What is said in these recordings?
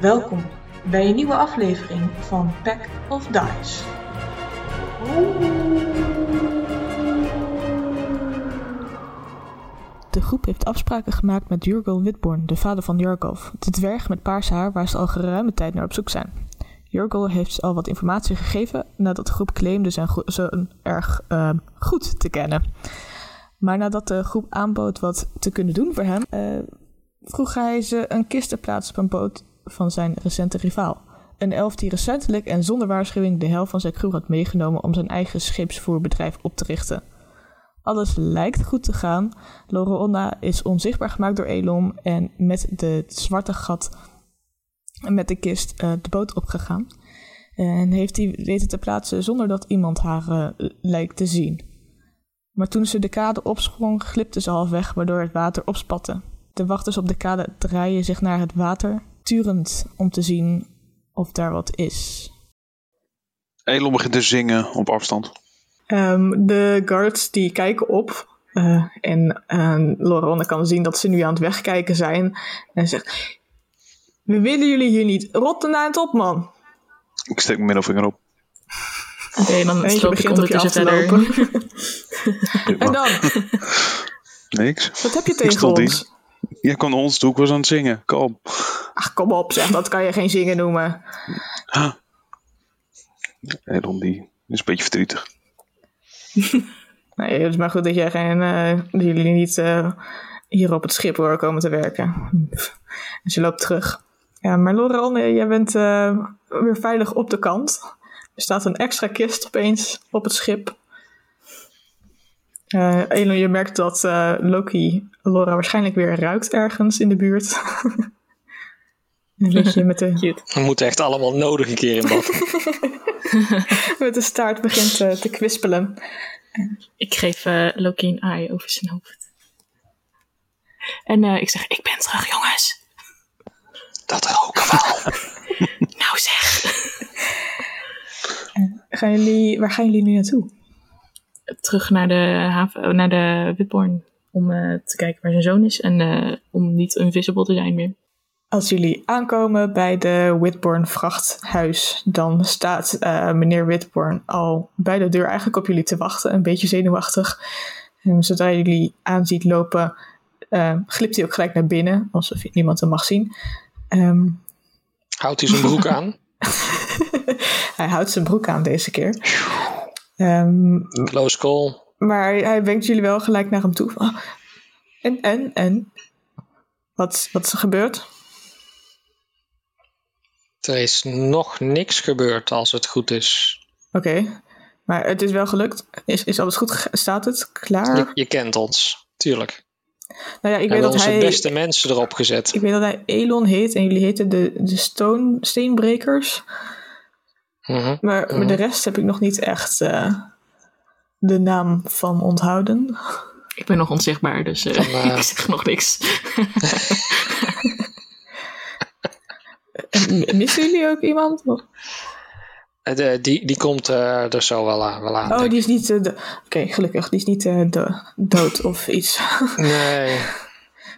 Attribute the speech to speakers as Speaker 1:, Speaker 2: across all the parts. Speaker 1: Welkom bij een nieuwe aflevering van Pack of Dice. De groep heeft afspraken gemaakt met Jurgol Witborn, de vader van Jarkov, de dwerg met paars haar waar ze al geruime tijd naar op zoek zijn. Jurgol heeft al wat informatie gegeven nadat de groep claimde zijn go- zoon erg eh, goed te kennen. Maar nadat de groep aanbood wat te kunnen doen voor hem, eh, vroeg hij ze een kist te plaatsen op een boot van zijn recente rivaal. Een elf die recentelijk en zonder waarschuwing de helft van zijn crew had meegenomen om zijn eigen scheepsvoerbedrijf op te richten. Alles lijkt goed te gaan. Lorona is onzichtbaar gemaakt door Elom en met de zwarte gat met de kist eh, de boot opgegaan. En heeft die weten te plaatsen zonder dat iemand haar eh, lijkt te zien. Maar toen ze de kade opsprong, glipte ze half weg, waardoor het water opspatte. De wachters op de kade draaien zich naar het water, turend om te zien of daar wat is.
Speaker 2: Elon begint te zingen op afstand.
Speaker 1: Ehm, de guards die kijken op. eh, en ehm Loronne kan zien dat ze nu aan het wegkijken zijn. En zegt: We willen jullie hier niet. Rotten aan het op, man.
Speaker 2: Ik steek mijn middelvinger op.
Speaker 3: Oké, dan
Speaker 1: Eentje
Speaker 3: sloop ik
Speaker 1: begint op je af
Speaker 3: ondertussen
Speaker 1: te
Speaker 3: verder.
Speaker 1: lopen. En
Speaker 2: Prima.
Speaker 1: dan,
Speaker 2: Niks.
Speaker 1: wat heb je tegen
Speaker 2: stond
Speaker 1: ons?
Speaker 2: Jij kwam naar ons toe, ik was aan het zingen. Kalm.
Speaker 1: Ach, kom op, zeg, dat kan je geen zingen noemen.
Speaker 2: Elon die is een beetje verdrietig.
Speaker 1: Nee, het is maar goed dat jij geen, eh, dat jullie niet eh, hier op het schip hoor komen te werken. En ze loopt terug. Ja, maar Loran, eh, jij bent eh, weer veilig op de kant. Er staat een extra kist opeens op het schip. Eh Elon, je merkt dat eh, Loki Laura waarschijnlijk weer ruikt ergens in de buurt. een beetje met de,
Speaker 3: Cute.
Speaker 4: We moeten echt allemaal nodig een keer in bad.
Speaker 1: met de staart begint eh, te kwispelen.
Speaker 3: Ik geef eh, Loki een aai over zijn hoofd. En eh, ik zeg, ik ben terug, jongens.
Speaker 4: Dat roken wel.
Speaker 3: Nou zeg.
Speaker 1: Gaan jullie, waar gaan jullie nu naartoe?
Speaker 3: Terug naar de haven, oh, naar de Witborn. Om eh, te kijken waar zijn zoon is. En eh, om niet invisible te zijn meer.
Speaker 1: Als jullie aankomen bij de Whitborn vrachthuis, dan staat eh, meneer Whitborn al bij de deur eigenlijk op jullie te wachten, een beetje zenuwachtig. En zodra je jullie aanziet lopen, eh, glipt hij ook gelijk naar binnen, alsof niemand hem mag zien. Ehm,
Speaker 4: Houdt hij zijn broek aan?
Speaker 1: hij houdt zijn broek aan deze keer. Ehm,
Speaker 4: Close call.
Speaker 1: maar hij wenkt jullie wel gelijk naar hem toe. Ah, En, en, en? Wat, wat is er gebeurd?
Speaker 4: Er is nog niks gebeurd als het goed is.
Speaker 1: Oké, maar het is wel gelukt. Is, is alles goed? gege- Staat het klaar?
Speaker 4: Je, je kent ons, tuurlijk.
Speaker 1: Nou ja, Ah. ik
Speaker 4: We
Speaker 1: weet
Speaker 4: hebben
Speaker 1: dat
Speaker 4: onze
Speaker 1: hij.
Speaker 4: beste mensen erop gezet.
Speaker 1: Ik weet dat hij Elon heet en jullie heten de, de stone, Steenbrekers.
Speaker 4: Mhm.
Speaker 1: Maar
Speaker 4: Mhm.
Speaker 1: maar de rest heb ik nog niet echt eh, de naam van onthouden.
Speaker 3: Ik ben nog onzichtbaar, dus eh,
Speaker 4: Van, eh,
Speaker 3: ik zeg nog niks.
Speaker 1: En Missen jullie ook iemand?
Speaker 4: Eh, de- die, die komt eh, er zo wel aan. Wel aan
Speaker 1: Oh,
Speaker 4: denk
Speaker 1: die is niet. eh, de- Oké, gelukkig. Die is niet eh, do- dood of iets.
Speaker 4: ik. Nee,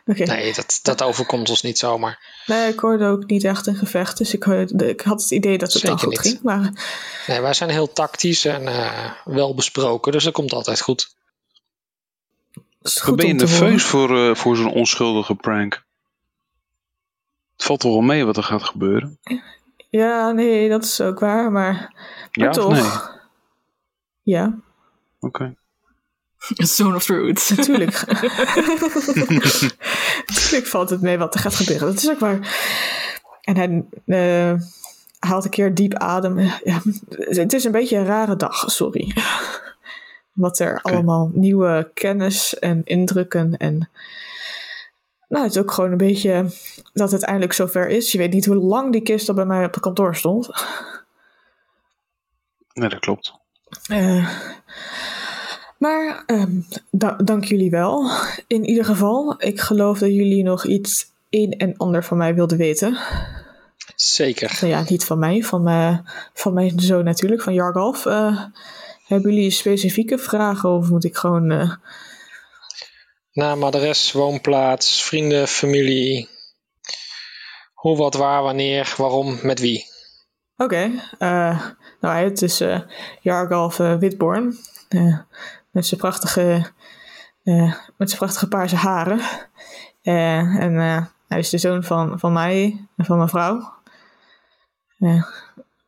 Speaker 1: Oké.
Speaker 4: nee dat, dat overkomt ons niet zomaar.
Speaker 1: Nee, ik hoorde ook niet echt een gevecht. Dus ik, hoorde- ik had het idee dat het dan
Speaker 4: Zeker
Speaker 1: goed
Speaker 4: niet.
Speaker 1: ging. Maar
Speaker 4: Nee, wij zijn heel tactisch en eh, wel besproken, dus dat komt altijd goed.
Speaker 1: het is
Speaker 2: Dan
Speaker 1: goed
Speaker 2: ben je
Speaker 1: om te
Speaker 2: nerveus
Speaker 1: horen.
Speaker 2: voor, eh, voor zo'n onschuldige prank. Het valt toch wel mee wat er gaat gebeuren?
Speaker 1: Ja, nee, dat is ook waar. Maar, maar
Speaker 2: Ja of
Speaker 1: Oh, toch.
Speaker 2: nee?
Speaker 1: Ja.
Speaker 2: Oké.
Speaker 3: Zone of Truth.
Speaker 1: Tuurlijk. Tuurlijk valt het mee wat er gaat gebeuren. Dat is ook waar. En hij eh, haalt een keer diep adem. Ja, het is een beetje een rare dag, sorry. Wat er allemaal nieuwe kennis en indrukken en... Nou, het is ook gewoon een beetje dat het eindelijk zover is. Je weet niet hoe lang die kist al bij mij op het kantoor stond.
Speaker 2: Nee, dat klopt.
Speaker 1: Eh, maar ehm, da- dank jullie wel. In ieder geval, ik geloof dat jullie nog iets een en ander van mij wilden weten.
Speaker 4: Zeker.
Speaker 1: Nou ja, niet van mij, van, eh, van mijn zoon natuurlijk, van Jargalf. Eh, hebben jullie specifieke vragen of moet ik gewoon... eh,
Speaker 4: Naam, adres, woonplaats, vrienden, familie. Hoe, wat, waar, wanneer, waarom, met wie.
Speaker 1: Oké, eh, nou hij het is eh Jargalf eh, Witborn. Eh, met zijn prachtige, eh, met zijn prachtige paarse haren. Eh, en eh, hij is de zoon van, van mij en van mijn vrouw. Eh,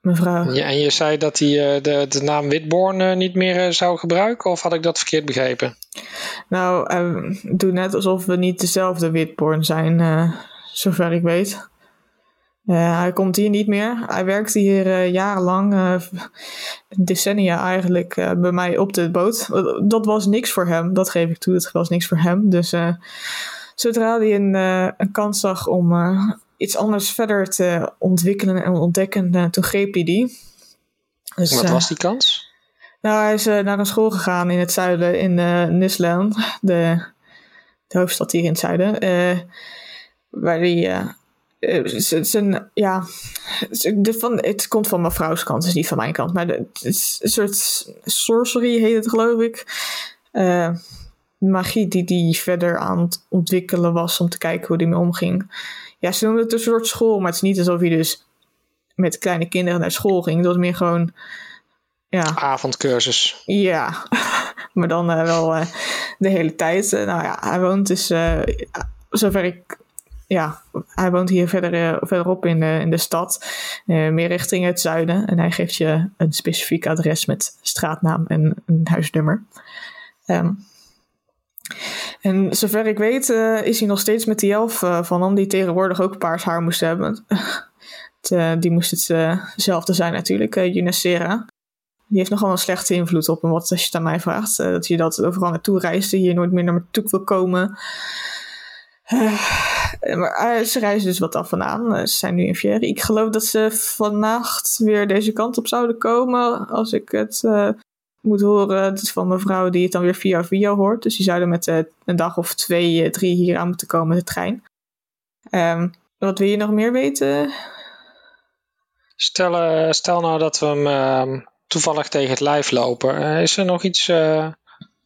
Speaker 1: mevrouw.
Speaker 4: Ja, en je zei dat hij eh, de, de naam Witborn eh, niet meer eh, zou gebruiken, of had ik dat verkeerd begrepen?
Speaker 1: Nou, eh, doe net alsof we niet dezelfde Witborn zijn, eh, zover ik weet. Eh, hij komt hier niet meer. Hij werkte hier eh, jarenlang, eh, decennia eigenlijk, eh, bij mij op de boot. Eh, Dat was niks voor hem, dat geef ik toe, dat was niks voor hem. Dus eh, zodra hij een, eh, een kans zag om eh, iets anders verder te ontwikkelen en ontdekken, eh, toen greep hij die. Dus,
Speaker 4: Wat
Speaker 1: eh,
Speaker 4: was die kans?
Speaker 1: nou, hij is eh, naar een school gegaan in het zuiden, in eh Nisland, de, de hoofdstad hier in het zuiden. eh, waar hij. eh, eh, z- zijn, ja, z- de, van, het komt van mijn vrouw's kant, dus niet van mijn kant. Maar de- het is een soort sorcery heet het, geloof ik. Eh, magie die die verder aan het ontwikkelen was om te kijken hoe die mee omging. Ja, ze noemden het een soort school, maar het is niet alsof hij dus met kleine kinderen naar school ging. Dat was meer gewoon. Ja.
Speaker 4: Avondcursus.
Speaker 1: Ja, maar dan eh, wel eh, de hele tijd. Eh, nou ja, hij woont dus, eh, zover ik, ja, hij woont hier verder, eh, verderop in de, in de stad, eh, meer richting het zuiden. En hij geeft je een specifiek adres met straatnaam en een huisnummer. Ehm, en zover ik weet eh, is hij nog steeds met die elf eh, van hem, die tegenwoordig ook paars haar moest hebben. Het, eh, die moest hetzelfde zijn natuurlijk, eh Junacera. Die heeft nogal een slechte invloed op hem, wat als je het aan mij vraagt. eh, dat je dat overal naartoe reist en hier nooit meer naar me toe wil komen. Eh, maar eh, ze reizen dus wat af en aan. Eh, ze zijn nu in Fieri. Ik geloof dat ze vannacht weer deze kant op zouden komen. Als ik het eh, moet horen. Het is van mevrouw die het dan weer via via hoort. Dus die zouden met eh, een dag of twee, eh, drie hier aan moeten komen met de trein. Ehm, wat wil je nog meer weten?
Speaker 4: Stel, eh, stel nou dat we hem ehm, toevallig tegen het lijf lopen. Eh, is er nog iets eh,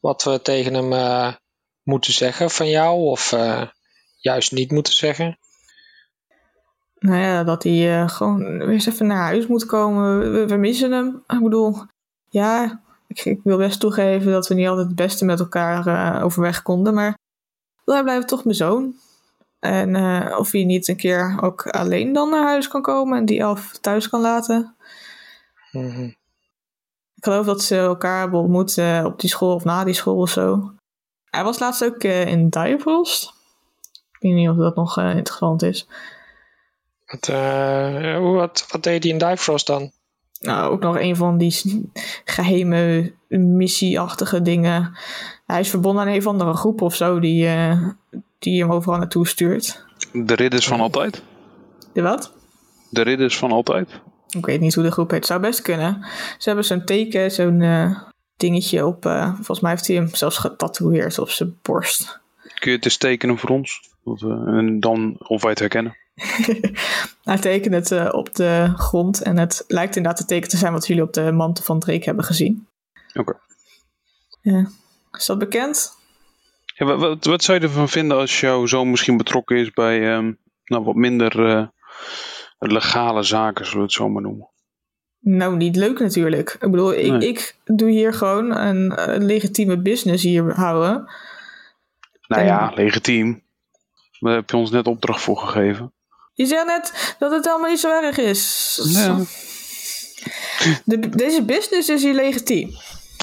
Speaker 4: wat we tegen hem eh, moeten zeggen van jou, of eh, juist niet moeten zeggen?
Speaker 1: Nou ja, dat hij eh, gewoon weer eens even naar huis moet komen. We, we missen hem. Ik bedoel, ja, ik, ik wil best toegeven dat we niet altijd het beste met elkaar eh, overweg konden. Maar hij blijft toch mijn zoon. En eh, of hij niet een keer ook alleen dan naar huis kan komen en die elf thuis kan laten.
Speaker 4: Mhm.
Speaker 1: Ik geloof dat ze elkaar hebben ontmoet eh, op die school of na die school of zo. Hij was laatst ook eh, in Diabrost. Ik weet niet of dat nog eh, interessant is.
Speaker 4: Wat, eh, hoe- wat, wat deed hij in Divefrost dan?
Speaker 1: Nou, ook nog een van die s- geheime missieachtige dingen. Hij is verbonden aan een van andere groep of zo die, eh, die hem overal naartoe stuurt.
Speaker 2: De ridders van altijd.
Speaker 1: De wat?
Speaker 2: De ridders van altijd.
Speaker 1: Ik weet niet hoe de groep heet. Zou best kunnen. Ze hebben zo'n teken, zo'n eh, dingetje op. eh, volgens mij heeft hij hem zelfs getatoeëerd op zijn borst.
Speaker 2: Kun je het eens tekenen voor ons? Dat we- en dan of wij het herkennen.
Speaker 1: Hij tekent het eh, op de grond en het lijkt inderdaad het teken te zijn wat jullie op de mantel van Drake hebben gezien.
Speaker 2: Oké.
Speaker 1: Ja. Is dat bekend?
Speaker 2: Ja, wa- wat, wat zou je ervan vinden als jouw zoon misschien betrokken is bij ehm, nou, wat minder eh, legale zaken, zullen we het zo maar noemen?
Speaker 1: Nou, niet leuk natuurlijk. Ik bedoel, ik,
Speaker 2: Nee.
Speaker 1: ik doe hier gewoon een eh, legitieme business hier houden.
Speaker 2: Nou
Speaker 1: En-
Speaker 2: ja, legitiem. Daar heb je ons net opdracht voor gegeven.
Speaker 1: Je zei net dat het allemaal niet zo erg is.
Speaker 2: Ja.
Speaker 1: De, deze business is hier legitiem.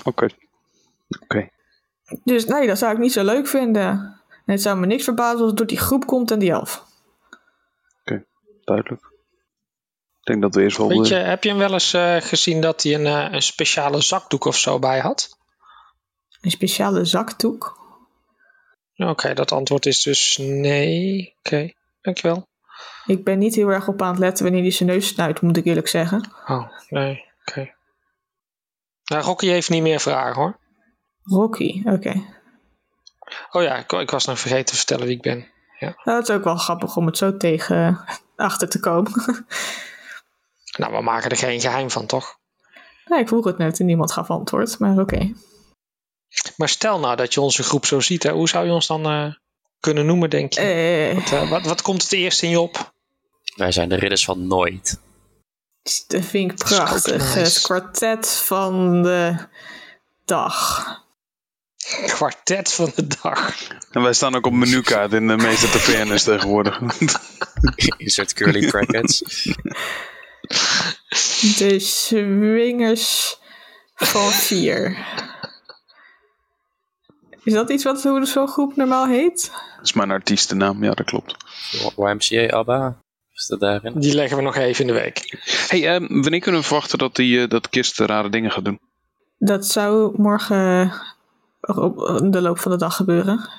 Speaker 2: Oké. Oké.
Speaker 1: Dus nee, dat zou ik niet zo leuk vinden. En het zou me niks verbazen als het door die groep komt en die elf.
Speaker 2: Duidelijk. Ik denk dat we eerst wel.
Speaker 4: Weet je,
Speaker 2: De...
Speaker 4: heb je hem wel eens eh, gezien dat hij een, eh, een speciale zakdoek of zo bij had?
Speaker 1: Een speciale zakdoek.
Speaker 4: Nou, Oké, dat antwoord is dus nee. Oké, dankjewel.
Speaker 1: Ik ben niet heel erg op aan het letten wanneer die zijn neus snuit, moet ik eerlijk zeggen.
Speaker 4: Oh, nee, oké. Nou, Rocky heeft niet meer vragen hoor.
Speaker 1: Rocky, oké.
Speaker 4: Oh ja, ik, ik was nog vergeten te vertellen wie ik ben.
Speaker 1: Dat is ook wel grappig om Nou, het zo tegen achter te komen.
Speaker 4: Nou, we maken er geen geheim van, toch?
Speaker 1: Ja, ik vroeg het net en niemand gaf antwoord, maar oké.
Speaker 4: Maar stel nou dat je onze groep zo ziet, hè, hoe zou je ons dan eh, kunnen noemen, denk je?
Speaker 1: Eh,
Speaker 4: Wat, eh, wat, wat komt het eerst in je op?
Speaker 5: Wij zijn de ridders van nooit.
Speaker 1: Dat vind ik
Speaker 4: Dat is ook
Speaker 1: prachtig.
Speaker 4: nice.
Speaker 1: Het kwartet van de dag.
Speaker 4: Kwartet van de dag.
Speaker 2: En wij staan ook op menukaart in de meeste tavernes tegenwoordig.
Speaker 5: Insert curly brackets.
Speaker 1: De swingers van vier. Is dat iets wat hoe zo'n groep normaal heet?
Speaker 2: dat is mijn artiestennaam, ja dat klopt.
Speaker 5: YMCA, ABBA. Is dat daarin?
Speaker 4: Die leggen we nog even in de week.
Speaker 2: hey, ehm, wanneer kunnen we verwachten dat, die, eh, dat Kist rare dingen gaat doen?
Speaker 1: Dat zou morgen op de loop van de dag gebeuren.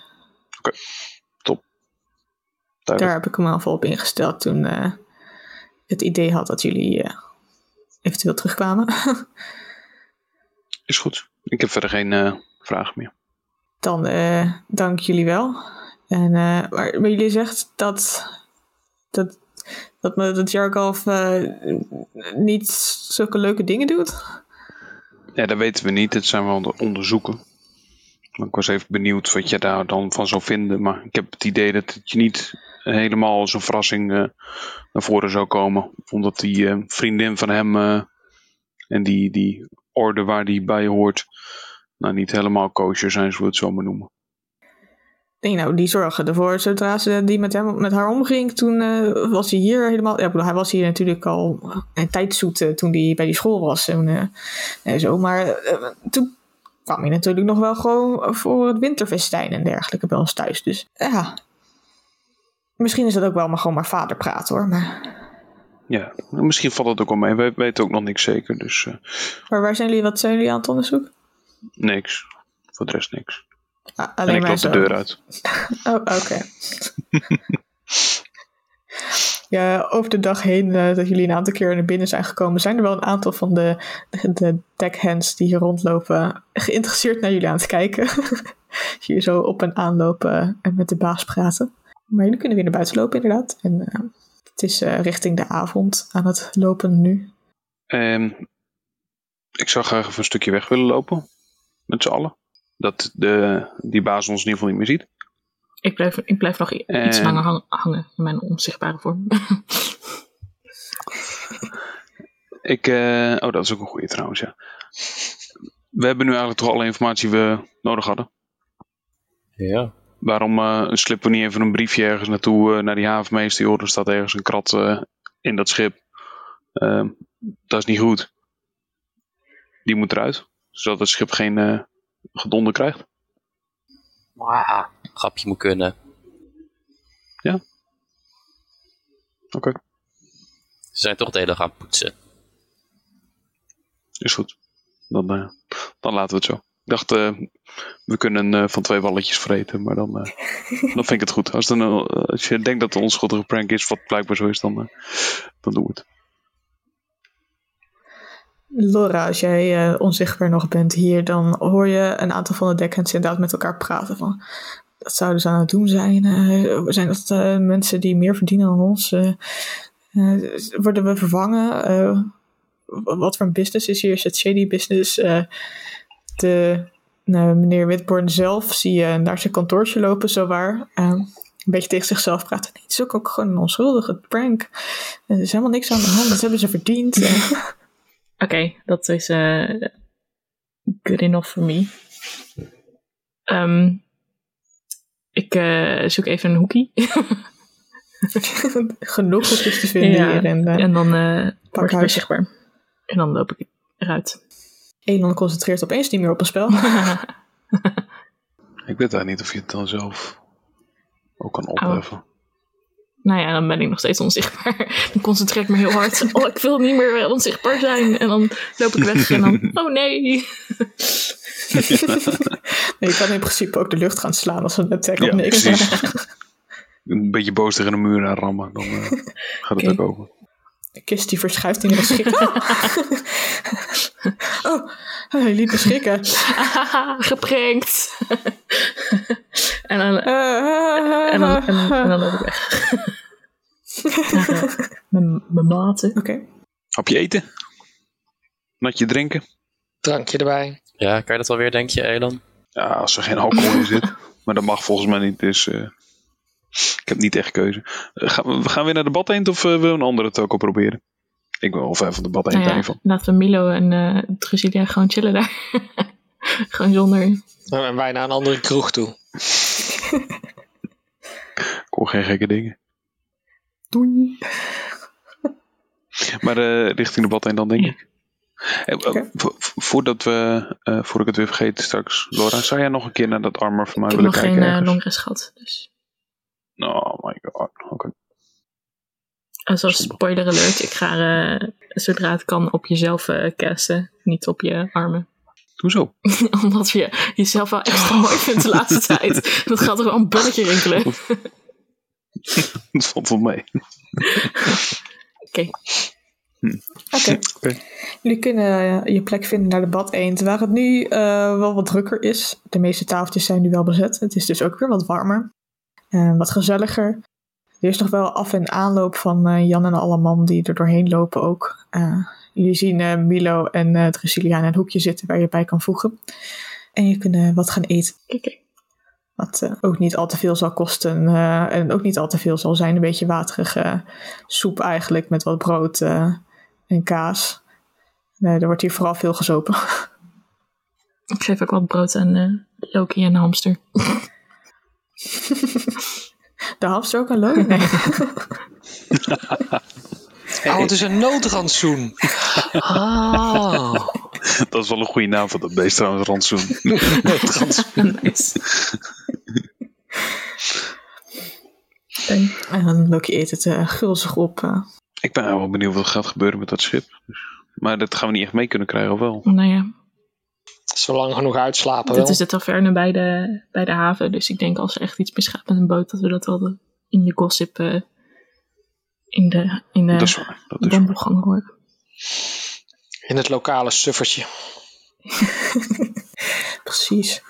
Speaker 1: Daar
Speaker 2: Duidelijk.
Speaker 1: heb ik hem al voor op ingesteld toen eh, het idee had dat jullie eh, eventueel terugkwamen.
Speaker 2: Is goed. Ik heb verder geen eh, vragen meer.
Speaker 1: Dan eh, dank jullie wel. En, eh, maar, maar jullie zegt dat. dat dat, me- dat Jarkov eh, niet zulke leuke dingen doet.
Speaker 2: Ja, dat weten we niet. Dat zijn we aan het onderzoeken. Maar Ik was even benieuwd wat je daar dan van zou vinden. Maar ik heb het idee dat het je niet helemaal als een verrassing eh, naar voren zou komen. Omdat die eh, vriendin van hem eh, en die, die orde waar die bij hoort... Nou, niet helemaal kosher zijn, zullen we het zo maar noemen.
Speaker 1: Nee, nou, die zorgen ervoor. Zodra ze die met, hem, met haar omging, toen eh, was hij hier helemaal... Ja, ik bedoel, hij was hier natuurlijk al een tijd zoet eh, toen hij bij die school was en, eh, en zo. Maar eh, toen kwam hij natuurlijk nog wel gewoon voor het winterfestijn en dergelijke bij ons thuis. Dus ja, misschien is dat ook wel maar gewoon maar vader praat hoor. Maar,
Speaker 2: Ja, misschien valt het ook wel mee. Wij weten ook nog niks zeker, dus eh,
Speaker 1: maar waar zijn jullie, wat zijn jullie aan het onderzoek?
Speaker 2: niks. Voor de rest niks.
Speaker 1: Ah,
Speaker 2: En
Speaker 1: alleen
Speaker 2: ik
Speaker 1: maar
Speaker 2: loop de
Speaker 1: zo.
Speaker 2: deur uit.
Speaker 1: Oh, oké. ja, over de dag heen eh, dat jullie een aantal keer naar binnen zijn gekomen, zijn er wel een aantal van de, de deckhands die hier rondlopen geïnteresseerd naar jullie aan het kijken. hier zo op en aanlopen en met de baas praten. Maar jullie kunnen weer naar buiten lopen, inderdaad. En eh, het is eh, richting de avond aan het lopen nu.
Speaker 2: Ehm, ik zou graag even een stukje weg willen lopen. Met z'n allen. Dat de, die baas ons in ieder geval niet meer ziet.
Speaker 3: Ik blijf, ik blijf nog i-
Speaker 2: En-
Speaker 4: Eh.
Speaker 3: iets langer hang- hangen in mijn onzichtbare vorm.
Speaker 2: Ik, eh, oh, dat is ook een goede trouwens, ja. We hebben nu eigenlijk toch alle informatie we nodig hadden.
Speaker 5: Ja.
Speaker 2: Waarom eh slippen we niet even een briefje ergens naartoe, eh, naar die havenmeester? Joh, er staat ergens een krat eh, in dat schip. Ehm, dat is niet goed. Die moet eruit, zodat het schip geen eh, gedonder krijgt.
Speaker 5: Mwah. Grapje moet kunnen.
Speaker 2: Oké,
Speaker 5: Ze zijn toch de hele dag aan het poetsen.
Speaker 2: is goed. Dan, eh, dan laten we het zo. Ik dacht, eh, we kunnen eh, van twee walletjes vreten, maar dan, eh, dan vind ik het goed. Als, het een, eh, als je denkt dat het een onschuldige prank is, wat blijkbaar zo is, dan, eh, dan doen we het.
Speaker 1: Laura, als jij eh, onzichtbaar nog bent hier, dan hoor je een aantal van de deckhands inderdaad met elkaar praten van... Dat zouden ze aan het doen zijn. Eh, zijn dat eh, mensen die meer verdienen dan ons? Eh, eh, worden we vervangen? Eh, w- wat voor een business is hier? Is het shady business? Eh, de, nou, meneer Witborn zelf zie je naar zijn kantoortje lopen, zowaar. Eh, een beetje tegen zichzelf praten. Nee, het is ook, ook gewoon een onschuldige prank. Er is helemaal niks aan de hand. Dat hebben ze verdiend. Eh,
Speaker 3: Oké, dat is eh good enough for me. Ehm, ik eh, zoek even een hoekie.
Speaker 1: genoeg hoekjes te vinden
Speaker 3: Ja,
Speaker 1: hier. En, eh,
Speaker 3: en dan eh word ik weer
Speaker 1: uit.
Speaker 3: zichtbaar. En dan loop ik eruit.
Speaker 1: Elon concentreert opeens niet meer op een spel.
Speaker 2: Ik weet daar niet of je het dan zelf ook kan opheffen.
Speaker 3: nou ja, dan ben ik nog steeds onzichtbaar. Dan concentreer ik me heel hard. Oh, ik wil niet meer eh, onzichtbaar zijn. En dan loop ik weg en dan... Oh nee!
Speaker 1: nee, je kan in principe ook de lucht gaan slaan als een attack op
Speaker 2: Ja,
Speaker 1: niks.
Speaker 2: precies. Een beetje boos tegen de muur aan rammen, dan eh, gaat het
Speaker 3: Oké.
Speaker 2: ook over.
Speaker 1: De kist die verschuift in de schrik. oh, hij liet me schrikken.
Speaker 3: Ahaha, geprankt! en dan... eh,
Speaker 1: Eh,
Speaker 3: En dan, en, en dan loop ik weg. Naar, eh, Mijn mijn maten.
Speaker 1: Oké.
Speaker 2: Hapje eten? Natje drinken?
Speaker 4: Drankje erbij.
Speaker 5: Ja, kan je dat alweer, denk je, Elon?
Speaker 2: Ja, als er geen alcohol in zit. Maar dat mag volgens mij niet, dus eh, Ik heb niet echt keuze. Eh, gaan, we, gaan we weer naar de bad eend of eh, willen we een andere toko proberen? Ik wil wel ver van de bad eend
Speaker 3: Nou ja,
Speaker 2: blijven.
Speaker 3: laten we Milo en eh Drusilia gewoon chillen daar. gewoon zonder...
Speaker 4: Nou, En wij naar een andere kroeg toe.
Speaker 2: Ik hoor geen gekke dingen.
Speaker 1: Doei.
Speaker 2: Maar eh, richting de bad eend dan denk
Speaker 3: Ja.
Speaker 2: ik. Eh, eh,
Speaker 1: Oké.
Speaker 2: vo- vo- voordat we, eh, voordat ik het weer vergeet straks, Laura, zou jij nog een keer naar dat armor van mij
Speaker 3: ik heb
Speaker 2: willen
Speaker 3: nog geen
Speaker 2: kijken?
Speaker 3: eh,
Speaker 2: ergens?
Speaker 3: longrest gehad. Dus.
Speaker 2: Oh my god. Oké.
Speaker 3: En zoals
Speaker 2: Zonde.
Speaker 3: spoiler alert, ik ga eh, zodra het kan op jezelf eh casten. Niet op je armen.
Speaker 2: Hoezo?
Speaker 3: Omdat je jezelf wel extra
Speaker 2: Oh.
Speaker 3: mooi vindt de laatste tijd. Dat gaat er wel een belletje rinkelen. Oké.
Speaker 2: Dat valt wel mee.
Speaker 1: Oké. Jullie kunnen eh, je plek vinden naar de bad eend, waar het nu eh, wel wat drukker is. De meeste tafeltjes zijn nu wel bezet. Het is dus ook weer wat warmer. en wat gezelliger. Er is nog wel af- en aanloop van eh, Jan en alle man die er doorheen lopen ook. Eh, jullie zien eh, Milo en eh Drusilla in een hoekje zitten waar je bij kan voegen. En je kunt eh, wat gaan eten.
Speaker 3: Kijk, kijk.
Speaker 1: Wat eh, ook niet al te veel zal kosten eh, en ook niet al te veel zal zijn. Een beetje waterige eh, soep eigenlijk met wat brood eh, en kaas. Nee, er wordt hier vooral veel gezopen.
Speaker 3: Ik geef ook wat brood aan eh, Loki en de hamster.
Speaker 1: De hamster ook een leuk. Nee.
Speaker 4: Oh, het is een noodrantsoen.
Speaker 3: Oh.
Speaker 4: Ah,
Speaker 2: Dat is wel een goede naam van dat beest trouwens, rantsoen.
Speaker 4: noodrantsoen.
Speaker 3: nice. Dank.
Speaker 1: En dan Loki eet het eh, gulzig op. eh.
Speaker 2: Ik ben wel benieuwd wat er gaat gebeuren met dat schip. Dus- Maar dat gaan we niet echt mee kunnen krijgen, of wel?
Speaker 3: Nou ja,
Speaker 4: Zo lang genoeg uitslapen wel.
Speaker 3: dit is de taverne bij de, bij de haven. Dus ik denk als er echt iets misgaat met een boot, dat we dat wel de- in de gossip, eh, in de, in
Speaker 2: Dat is
Speaker 3: de
Speaker 2: waar. Dat is waar.
Speaker 3: wandelgang horen.
Speaker 4: In het lokale suffertje.
Speaker 1: Precies.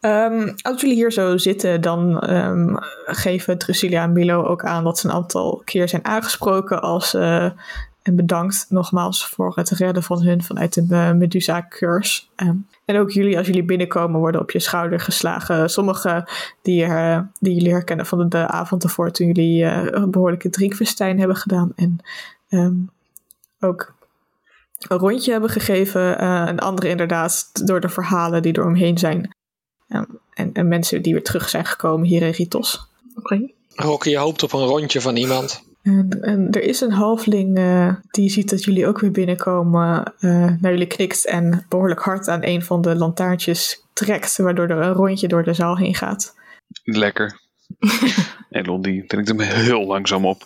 Speaker 1: Ehm, als jullie hier zo zitten, dan ehm, geven Drusilla en Milo ook aan dat ze een aantal keer zijn aangesproken als. eh, en bedankt nogmaals voor het redden van hun vanuit de eh, Medusa-curse. Ehm, en ook jullie, als jullie binnenkomen, worden op je schouder geslagen. Sommige die, eh, die jullie herkennen van de, de avond ervoor, toen jullie eh, een behoorlijke drinkfestijn hebben gedaan. En ehm, ook een rondje hebben gegeven. eh, en anderen inderdaad door de verhalen die er omheen zijn. Ehm, en, en mensen die weer terug zijn gekomen hier in Ritos.
Speaker 3: Oké.
Speaker 4: Rocky hoopt op een rondje van iemand.
Speaker 1: En, en er is een halfling eh, die ziet dat jullie ook weer binnenkomen. eh, naar jullie knikt en behoorlijk hard aan een van de lantaartjes trekt. Waardoor er een rondje door de zaal heen gaat.
Speaker 2: Lekker. Elon die drinkt hem heel langzaam op.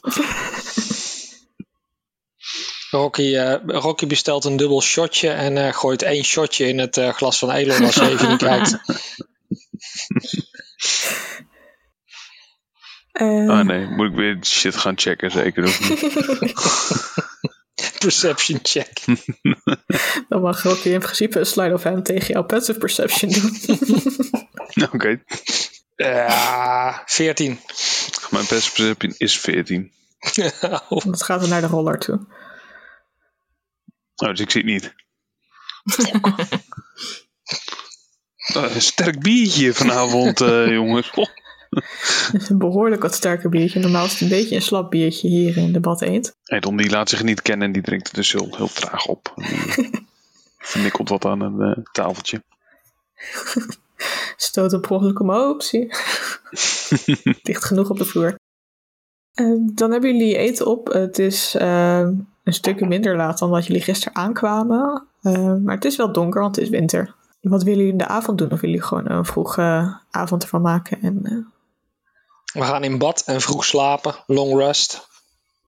Speaker 4: Rocky, eh, Rocky bestelt een dubbel shotje en eh, gooit één shotje in het eh, glas van Elon als hij even niet kijkt.
Speaker 1: Eh,
Speaker 2: Ah nee, moet ik weer shit gaan checken, zeker. Of niet?
Speaker 4: Perception check.
Speaker 1: Dan mag Rocky in principe een slide of hand tegen jouw passive perception doen.
Speaker 2: Oké,
Speaker 4: Ja, 14.
Speaker 2: mijn best perception is 14.
Speaker 4: Oh,
Speaker 1: Dat gaat dan naar de roller toe.
Speaker 2: Oh, dus ik zie het niet. Oh, een sterk biertje vanavond, eh, jongens. Oh,
Speaker 1: Het is een behoorlijk wat sterker biertje. Normaal is het een beetje een slap biertje hier in de bad eend.
Speaker 2: Elon die laat zich niet kennen en die drinkt het dus heel, heel traag op. Die vernikkelt wat aan een eh, tafeltje.
Speaker 1: Stoot op per ongeluk omhoog, zie je. Dicht genoeg op de vloer. Eh, dan hebben jullie eten op. Het is eh, een stukje minder laat dan dat jullie gisteren aankwamen. Eh, maar het is wel donker, want het is winter. Wat willen jullie in de avond doen? Of willen jullie gewoon een vroege avond ervan maken? En eh,
Speaker 4: We gaan in bad en vroeg slapen. Long rest.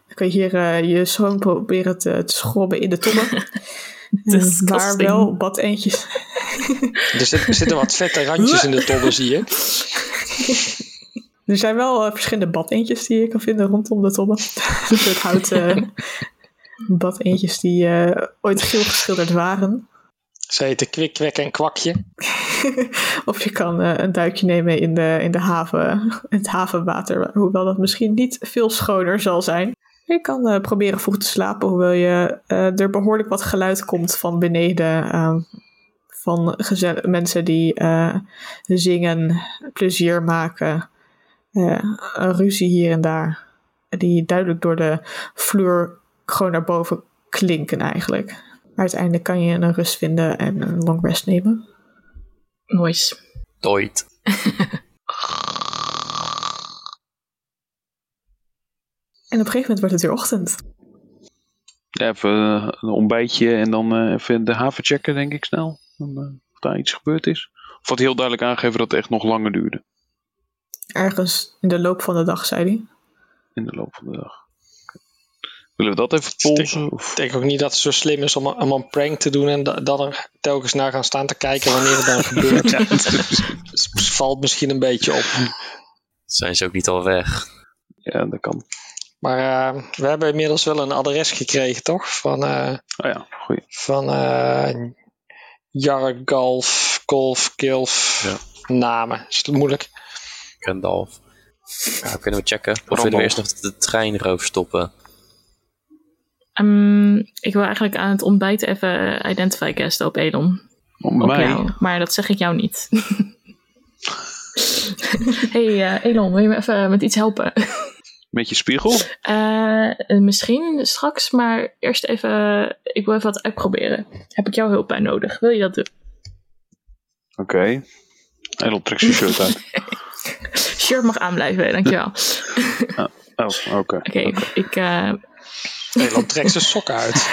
Speaker 1: dan kun je hier eh, je schoon proberen te, te schrobben in de tobben. Eh, maar
Speaker 3: Disgusting.
Speaker 1: wel bad eendjes.
Speaker 4: Er zit- er zitten wat vette randjes in de tobben, zie je.
Speaker 1: Er zijn wel eh, verschillende badeentjes die je kan vinden rondom de tobben. Een soort houten eh, badeentjes die eh, ooit geel geschilderd waren.
Speaker 4: Ze heten kwik, kwek en kwakje.
Speaker 1: Of je kan eh, een duikje nemen in de, in de haven, het havenwater. Hoewel dat misschien niet veel schoner zal zijn. Je kan eh, proberen vroeg te slapen, hoewel je, eh, er behoorlijk wat geluid komt van beneden. eh, van geze- mensen die eh, zingen, plezier maken. een ruzie hier en daar. Die duidelijk door de vloer gewoon naar boven klinken eigenlijk. Maar uiteindelijk kan je een rust vinden en een long rest nemen.
Speaker 3: Nice.
Speaker 5: Doit.
Speaker 1: En op een gegeven moment wordt het weer ochtend.
Speaker 2: Ja, even eh, een ontbijtje en dan eh, even de haven checken, denk ik snel. Dan, eh, of daar iets gebeurd is. Of wat heel duidelijk aangeven dat het echt nog langer duurde
Speaker 1: Ergens in de loop van de dag, zei hij.
Speaker 2: in de loop van de dag. Oké. Willen we dat even polsen? Of?
Speaker 4: Ik denk ook niet dat het zo slim is om, om een prank te doen en da- dan er telkens naar gaan staan te kijken wanneer het dan gebeurt. Dus
Speaker 2: Ja,
Speaker 4: Het valt misschien een beetje op.
Speaker 5: Zijn ze ook niet al weg?
Speaker 2: ja, dat kan.
Speaker 4: Maar eh, we hebben inmiddels wel een adres gekregen, toch? Van, eh
Speaker 2: Oh ja, goeie.
Speaker 4: van eh Jarre Golf, Golf, Kilf, namen. Is het moeilijk?
Speaker 5: Gandalf. Ja, kunnen we checken? Of
Speaker 2: Randolph.
Speaker 5: willen we eerst nog de treinroof stoppen?
Speaker 3: Ehm, ik wil eigenlijk aan het ontbijt even eh, identify guesten op Elon.
Speaker 2: Om
Speaker 3: Op
Speaker 2: mij.
Speaker 3: jou. Maar dat zeg ik jou niet. hey eh, Elon, wil je me even met iets helpen?
Speaker 2: Met je spiegel?
Speaker 3: Eh, eh, misschien straks, maar eerst even. Ik wil even wat uitproberen. Heb ik jouw hulp bij nodig? Wil je dat doen?
Speaker 2: Oké. En dan trekt zijn shirt uit.
Speaker 3: Shirt mag aanblijven, dankjewel. Oké,
Speaker 2: Oh, oké.
Speaker 3: ik. eh,
Speaker 4: Nederland trekt zijn sokken uit.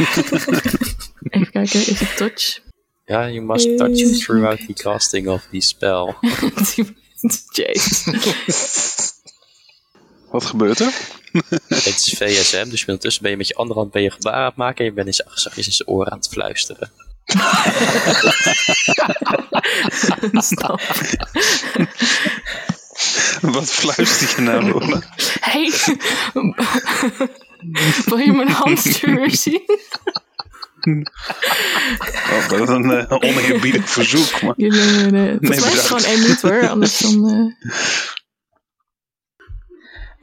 Speaker 3: even kijken, is het touch?
Speaker 5: Ja, you must touch throughout the casting of the spell.
Speaker 3: Jeez.
Speaker 2: Wat gebeurt er?
Speaker 5: Het is VSM, dus ondertussen ben je met je andere hand ben je gebaren aan het maken en je bent in zijn, zachtjes in zijn oor aan het fluisteren.
Speaker 3: Stop.
Speaker 2: Wat fluister je nou, Lola?
Speaker 3: Hey, wil je mijn hamster weer zien?
Speaker 2: Oh, dat is een eh, oneerbiedig verzoek. Maar...
Speaker 3: Jullie, eh, volgens mij is
Speaker 2: bedankt.
Speaker 3: het gewoon één minuut hoor, anders dan... eh,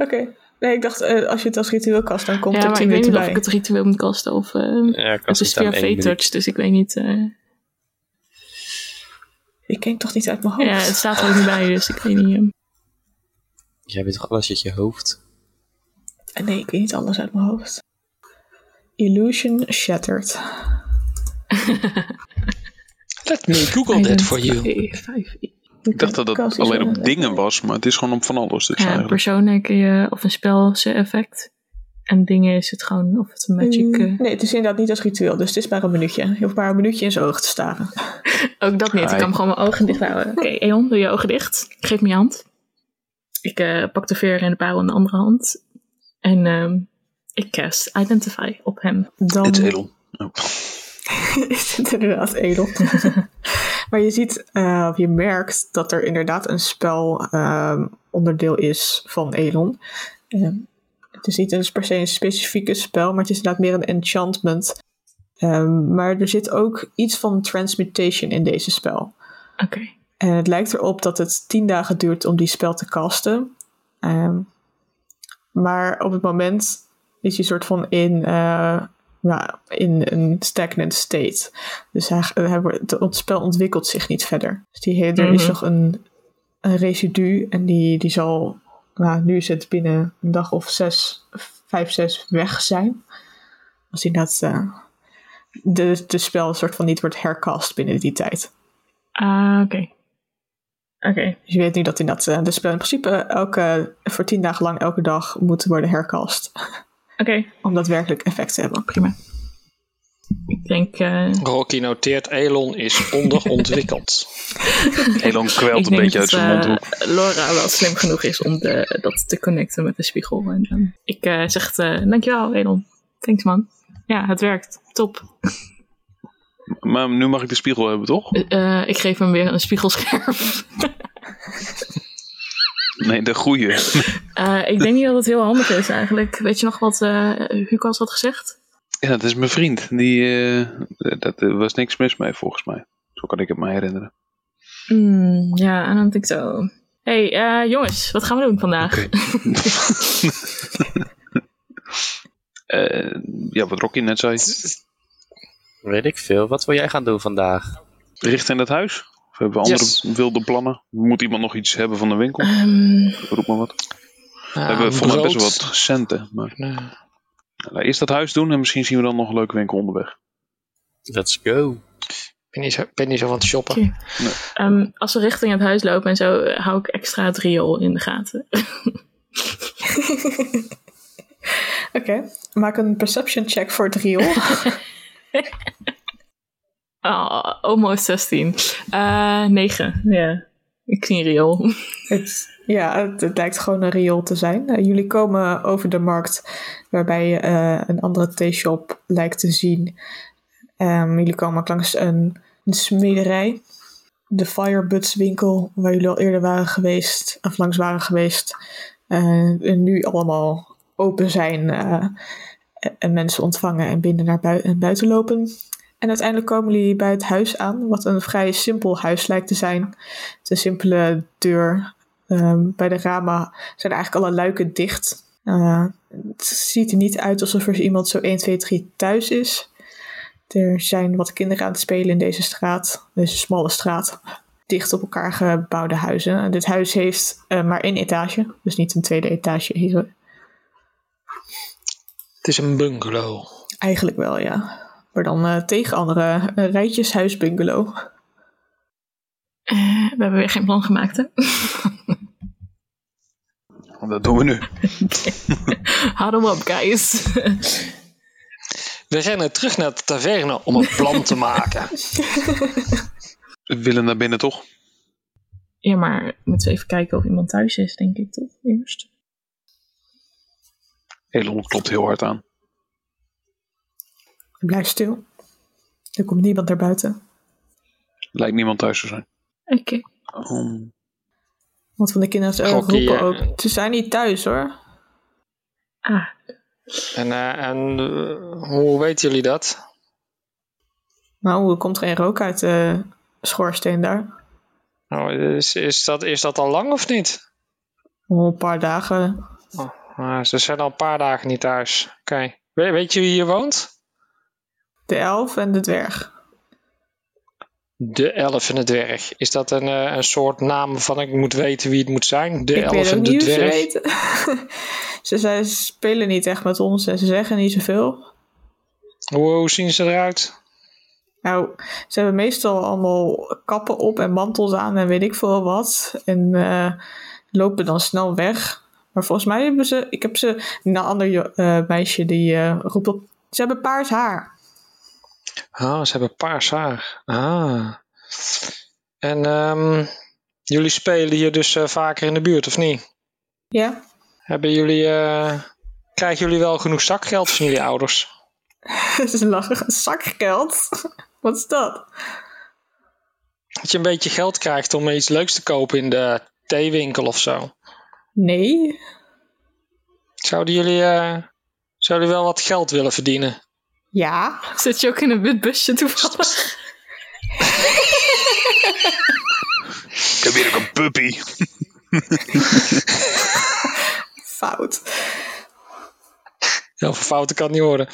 Speaker 1: Oké. Nee, ik dacht, eh, als je het als ritueel kast, dan komt
Speaker 3: ja,
Speaker 1: er
Speaker 3: maar
Speaker 1: tien
Speaker 3: ik weet
Speaker 1: minuten
Speaker 3: niet of
Speaker 1: bij.
Speaker 3: ik het ritueel moet kasten of... eh,
Speaker 5: Ja, ik
Speaker 3: het
Speaker 5: was
Speaker 3: is
Speaker 5: niet
Speaker 3: via
Speaker 5: aan één minuut.
Speaker 3: V-touch, dus ik weet niet... eh,
Speaker 1: Ik ken het toch niet uit mijn hoofd?
Speaker 3: ja, het staat er ook niet bij, dus ik weet niet... eh.
Speaker 5: Jij weet toch alles uit je hoofd?
Speaker 1: Eh, Nee, ik weet niet alles uit mijn hoofd. Illusion Shattered.
Speaker 4: Let me Google that for you.
Speaker 2: Ik dacht dat dat alleen
Speaker 1: eh,
Speaker 2: op dingen was, maar het is gewoon op van alles. Dus
Speaker 3: Ja,
Speaker 2: eigenlijk.
Speaker 3: personen kun je... Of een spelse effect. En dingen is het gewoon... Of het een magic... eh,
Speaker 1: Mm, Nee, het is inderdaad niet als ritueel, dus het is maar een minuutje. Je hoeft maar een minuutje in zijn oog te staren.
Speaker 3: Ook dat niet. Ik
Speaker 2: Ai.
Speaker 3: kan hem gewoon mijn ogen dicht houden. Oké, Eon, doe je ogen dicht. Geef me je hand. Ik eh, pak de veer en de parel in de andere hand. En ehm, ik cast Identify op hem.
Speaker 1: Dan
Speaker 2: Het is Oh. edel.
Speaker 1: is het inderdaad edel. maar je ziet, eh, of je merkt dat er inderdaad een spel ehm, onderdeel is van Elon. Ehm, het is niet een, per se een specifieke spel, maar het is inderdaad meer een enchantment. Ehm, maar er zit ook iets van transmutation in deze spel.
Speaker 3: Oké.
Speaker 1: En het lijkt erop dat het tien dagen duurt om die spel te casten. Ehm, maar op het moment is hij soort van in, eh, ja, in een stagnant state. Dus hij, hij wordt, het spel ontwikkelt zich niet verder. Dus die, he- er is
Speaker 3: Mhm.
Speaker 1: nog een, een residu en die, die zal, nou, nu is het binnen een dag of zes, vijf, zes weg zijn. Als inderdaad eh de, de spel soort van niet wordt hercast binnen die tijd.
Speaker 3: Ah, oké. Oké.
Speaker 1: Dus je weet nu dat in dat eh, de spel in principe elke, voor tien dagen lang elke dag moet worden hercast.
Speaker 3: Oké,
Speaker 1: Om daadwerkelijk effect te hebben.
Speaker 3: prima. Ik denk... eh,
Speaker 4: Rocky noteert, Elon is onderontwikkeld.
Speaker 2: Elon
Speaker 3: ik
Speaker 2: kwelt een
Speaker 3: denk
Speaker 2: beetje uit
Speaker 3: dat,
Speaker 2: zijn
Speaker 3: eh,
Speaker 2: mondhoek.
Speaker 3: Laura wel slim genoeg is om de, dat te connecten met de spiegel. En, ehm, ik eh, zeg eh, dankjewel, Elon. Thanks, man. Ja, het werkt. Top.
Speaker 2: Maar nu mag ik de spiegel hebben, toch?
Speaker 3: Eh, eh, ik geef hem weer een spiegelscherm.
Speaker 2: Nee, de goede.
Speaker 3: Eh, ik denk niet dat het heel handig is eigenlijk. Weet je nog wat eh Hukas had gezegd?
Speaker 2: Ja, dat is mijn vriend. Die, eh, dat er was niks mis mee, volgens mij. Zo kan ik het me herinneren.
Speaker 3: Hmm, ja, I don't think so. hey, eh, jongens, wat gaan we doen vandaag?
Speaker 2: Eh, ja, wat Rocky net zei.
Speaker 5: Weet ik veel. Wat wil jij gaan doen vandaag?
Speaker 2: Richten in het huis? Of hebben we andere
Speaker 4: Yes.
Speaker 2: wilde plannen? Moet iemand nog iets hebben van de winkel?
Speaker 3: Ehm,
Speaker 2: Roep maar wat. we
Speaker 4: Ah, Eh,
Speaker 2: hebben volgens mij best wel wat centen. Maar nou, eerst dat huis doen en misschien zien we dan nog een leuke winkel onderweg.
Speaker 5: Let's go.
Speaker 4: Ik ben niet zo, ik ben niet zo van het shoppen.
Speaker 3: Oké. ehm, als we richting het huis lopen en zo, eh, hou ik extra het riool in de gaten.
Speaker 1: Oké, maak een perception check voor het riool.
Speaker 3: Ah, almost 16. Eh 9, ja. Ik zie een riool.
Speaker 1: Het, ja, het, het lijkt gewoon een riool te zijn. Eh, jullie komen over de markt waarbij je eh, een andere theeshop lijkt te zien. Ehm, jullie komen ook langs een, een smederij. De Firebuds winkel waar jullie al eerder waren geweest, of langs waren geweest. eh, en nu allemaal open zijn eh, en mensen ontvangen en binnen naar bui- en buiten lopen. En uiteindelijk komen jullie bij het huis aan, wat een vrij simpel huis lijkt te zijn. Het is een simpele deur Ehm, bij de ramen zijn eigenlijk alle luiken dicht. Eh, het ziet er niet uit alsof er iemand zo 1, 2, 3 thuis is. Er zijn wat kinderen aan het spelen in deze straat, deze smalle straat. Dicht op elkaar gebouwde huizen. En dit huis heeft eh, maar één etage, dus niet een tweede etage hier.
Speaker 4: Het is een bungalow.
Speaker 1: Eigenlijk wel, ja. Maar dan eh, tegen andere eh, rijtjes huis bungalow.
Speaker 3: Eh, we hebben weer geen plan gemaakt, hè?
Speaker 2: Want dat doen we nu.
Speaker 3: Huddle up, guys.
Speaker 4: We rennen terug naar de taverne om een plan te maken.
Speaker 2: We willen naar binnen toch?
Speaker 3: ja, maar moeten we even kijken of iemand thuis is, denk ik toch? Eerst.
Speaker 2: Elon klopt heel hard aan.
Speaker 1: Blijf stil. Er komt niemand naar buiten.
Speaker 2: Lijkt niemand thuis te zijn.
Speaker 3: Oké.
Speaker 2: Um,
Speaker 1: Want van de kinderen eh,
Speaker 4: Gokkie,
Speaker 1: roepen
Speaker 4: eh.
Speaker 1: ook. Ze zijn niet thuis hoor.
Speaker 3: Ah,
Speaker 4: En, eh, en eh, hoe weten jullie dat?
Speaker 1: Nou, er komt geen rook uit de schoorsteen daar.
Speaker 4: Nou, is, is, dat, is dat al lang of niet?
Speaker 1: Al een paar dagen.
Speaker 4: Ah, ze zijn al een paar dagen niet thuis. Oké. We- weet je wie hier woont?
Speaker 1: De elf en de dwerg.
Speaker 4: De elf en de dwerg. Is dat een, eh, een soort naam van ik moet weten wie het moet zijn? De
Speaker 1: ik weet
Speaker 4: elf
Speaker 1: ook
Speaker 4: en de
Speaker 1: niet hoe ze
Speaker 4: dwerg.
Speaker 1: weten. ze, zijn, ze spelen niet echt met ons en ze zeggen niet zoveel.
Speaker 4: Hoe, hoe zien ze eruit?
Speaker 1: Nou, ze hebben meestal allemaal kappen op en mantels aan en weet ik veel wat. En eh, lopen dan snel weg. Maar volgens mij hebben ze... Ik heb ze... Een ander jo- eh, meisje die eh, roept op... Ze hebben paars haar.
Speaker 4: Ah, ze hebben paars haar. Ah. En ehm, jullie spelen hier dus eh, vaker in de buurt, of niet?
Speaker 1: Ja,
Speaker 4: Hebben jullie, eh, krijgen jullie wel genoeg zakgeld van jullie ouders?
Speaker 1: ze lachen. Zakgeld? wat is dat?
Speaker 4: Dat je een beetje geld krijgt om iets leuks te kopen in de theewinkel of zo.
Speaker 1: Nee,
Speaker 4: Zouden jullie, eh, zouden jullie wel wat geld willen verdienen?
Speaker 1: Ja.
Speaker 3: zit je ook in een wit busje toevallig?
Speaker 2: ik heb hier ook een puppy.
Speaker 1: Fout.
Speaker 4: Heel veel fouten kan het niet worden.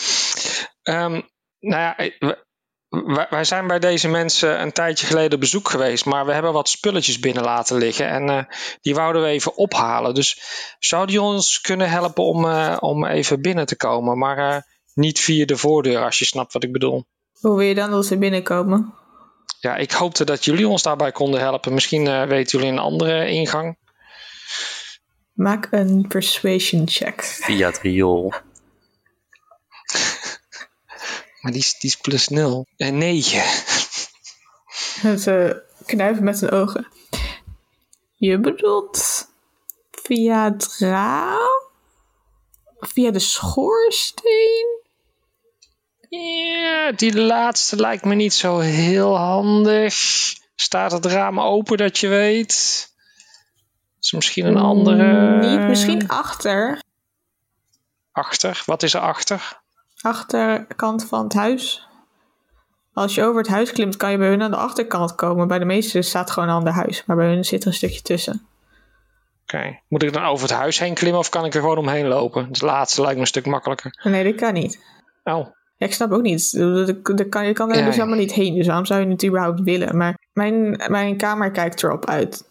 Speaker 4: Ehm, nou ja, eh, we- wij, wij zijn bij deze mensen een tijdje geleden op bezoek geweest, maar we hebben wat spulletjes binnen laten liggen en eh, die wouden we even ophalen. Dus zouden jullie ons kunnen helpen om, eh, om even binnen te komen, maar eh, niet via de voordeur, als je snapt wat ik bedoel.
Speaker 1: Hoe wil je dan dat ze binnenkomen?
Speaker 4: Ja, ik hoopte dat jullie ons daarbij konden helpen. Misschien eh, weten jullie een andere ingang.
Speaker 1: Maak een persuasion check.
Speaker 5: Via het riool.
Speaker 4: Maar die is, die is plus nul. En negen.
Speaker 1: Ze knuiven met hun ogen. Je bedoelt via het raam? Via de schoorsteen?
Speaker 4: Ja, die laatste lijkt me niet zo heel handig. Staat het raam open dat je weet? Is er misschien een andere.
Speaker 3: Eh.
Speaker 1: Niet, misschien achter.
Speaker 4: Achter. Wat is er achter?
Speaker 1: Achterkant van het huis. Als je over het huis klimt, kan je bij hun aan de achterkant komen. Bij de meeste staat gewoon een ander huis, maar bij hun zit er een stukje tussen.
Speaker 4: Oké. Moet ik dan over het huis heen klimmen of kan ik er gewoon omheen lopen? Het laatste lijkt me een stuk makkelijker.
Speaker 1: Nee, dat kan niet.
Speaker 4: Oh,
Speaker 1: Ja, ik snap ook niet. Je kan, je kan er
Speaker 4: Ja,
Speaker 1: dus
Speaker 4: ja.
Speaker 1: helemaal niet heen. Dus waarom zou je het überhaupt willen? Maar mijn, mijn kamer kijkt erop uit.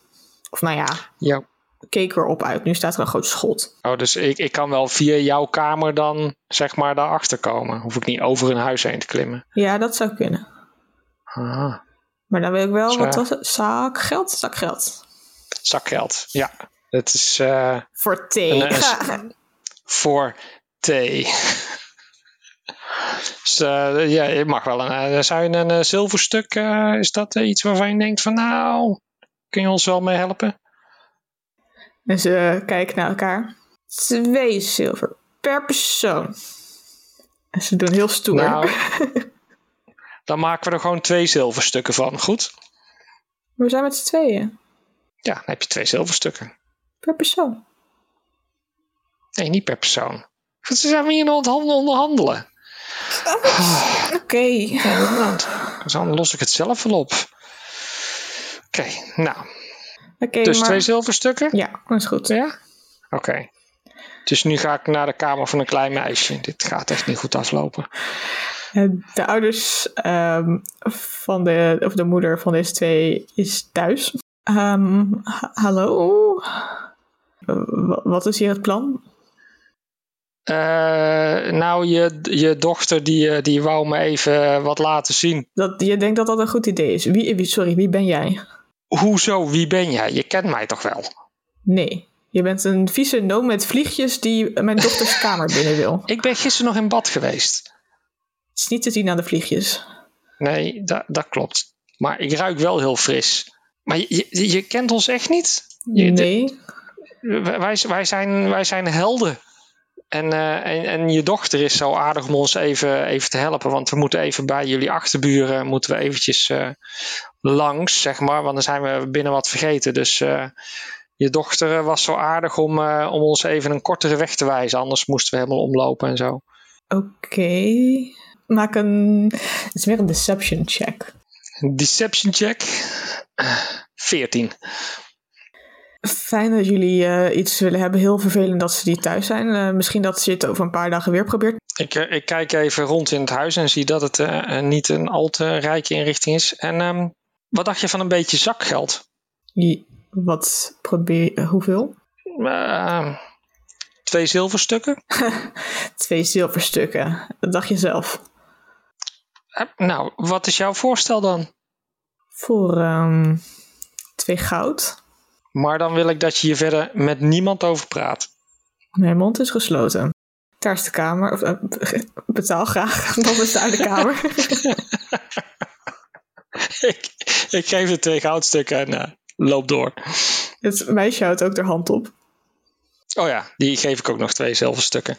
Speaker 1: Of nou ja,
Speaker 4: Ja.
Speaker 1: keek erop uit. Nu staat er een groot schot.
Speaker 4: Oh, dus ik, ik kan wel via jouw kamer dan zeg maar daarachter komen. Hoef ik niet over hun huis heen te klimmen.
Speaker 1: Ja, dat zou kunnen.
Speaker 4: Ah,
Speaker 1: Maar dan wil ik wel,
Speaker 4: Zo.
Speaker 1: wat was het? Zak geld? Zak geld.
Speaker 4: zakgeld. Ja, dat is eh,
Speaker 1: Voor thee.
Speaker 4: Een, eh,
Speaker 1: Ga-
Speaker 4: voor thee. Dus eh, ja, je mag wel een, eh, zou je een eh, zilverstuk, eh, is dat eh, iets waarvan je denkt van nou, kun je ons wel mee helpen?
Speaker 1: En ze Dus, eh, kijken naar elkaar. Twee zilver per persoon. En ze doen heel stoer.
Speaker 4: Nou, dan maken we er gewoon twee zilverstukken van. Goed?
Speaker 1: We zijn met z'n tweeën.
Speaker 4: Ja, dan heb je twee zilverstukken.
Speaker 1: Per persoon.
Speaker 4: Nee, niet per persoon. Goed, ze zijn we hier aan het handel- onderhandelen.
Speaker 1: Oké.
Speaker 4: Ja, nou, dan los ik het zelf wel op. Oké, nou,
Speaker 1: Oké,
Speaker 4: dus
Speaker 1: maar...
Speaker 4: twee zilverstukken?
Speaker 1: Ja, dat is goed.
Speaker 4: Ja? Oké. Dus nu ga ik naar de kamer van een klein meisje. Dit gaat echt niet goed aflopen.
Speaker 1: Eh, De ouders ehm, van de, of de moeder van deze twee is thuis. Ehm, ha- hallo? Eh, wa- Wat is hier het plan?
Speaker 4: Eh, nou, je, je dochter die, eh, die wou me even wat laten zien.
Speaker 1: Dat, je denkt dat dat een goed idee is. Wie, wie- sorry, wie ben jij?
Speaker 4: Hoezo, wie ben jij? Je kent mij toch wel?
Speaker 1: Nee, je bent een vieze noom met vliegjes die mijn dochters kamer binnen wil.
Speaker 4: Ik ben gisteren nog in bad geweest.
Speaker 1: Het is niet te zien aan de vliegjes.
Speaker 4: Nee, da- dat klopt. Maar ik ruik wel heel fris. Maar je, je, je kent ons echt niet? Je- de-
Speaker 1: Nee,
Speaker 4: Wij- wij, wij, zijn, wij zijn helden. En, eh, en, en je dochter is zo aardig om ons even, even te helpen. Want we moeten even bij jullie achterburen moeten we eventjes eh, langs, zeg maar. Want dan zijn we binnen wat vergeten. Dus eh, je dochter eh, was zo aardig om, eh, om ons even een kortere weg te wijzen. Anders moesten we helemaal omlopen en zo.
Speaker 1: oké. Maak een... Het is weer een deception check.
Speaker 4: Deception check. Eh, 14.
Speaker 1: Fijn dat jullie eh, iets willen hebben. Heel vervelend dat ze die thuis zijn. Eh, misschien dat ze het over een paar dagen weer probeert.
Speaker 4: Ik, eh, ik kijk even rond in het huis en zie dat het eh, eh, niet een al te rijke inrichting is. En ehm, wat dacht je van een beetje zakgeld?
Speaker 1: Je- Wat probeer eh, Hoeveel?
Speaker 4: Ehm, twee zilverstukken.
Speaker 1: Twee zilverstukken. Dat dacht je zelf.
Speaker 4: Eh, nou, wat is jouw voorstel dan?
Speaker 1: Voor ehm, twee goud.
Speaker 4: Maar dan wil ik dat je hier verder met niemand over praat.
Speaker 1: Mijn mond is gesloten. Daar is de kamer. Of, eh, betaal graag. Dat is daar de kamer.
Speaker 4: ik, ik geef de twee goudstukken en eh, loop door.
Speaker 1: Het meisje houdt ook haar hand op.
Speaker 4: Oh ja, die geef ik ook nog twee zilverstukken.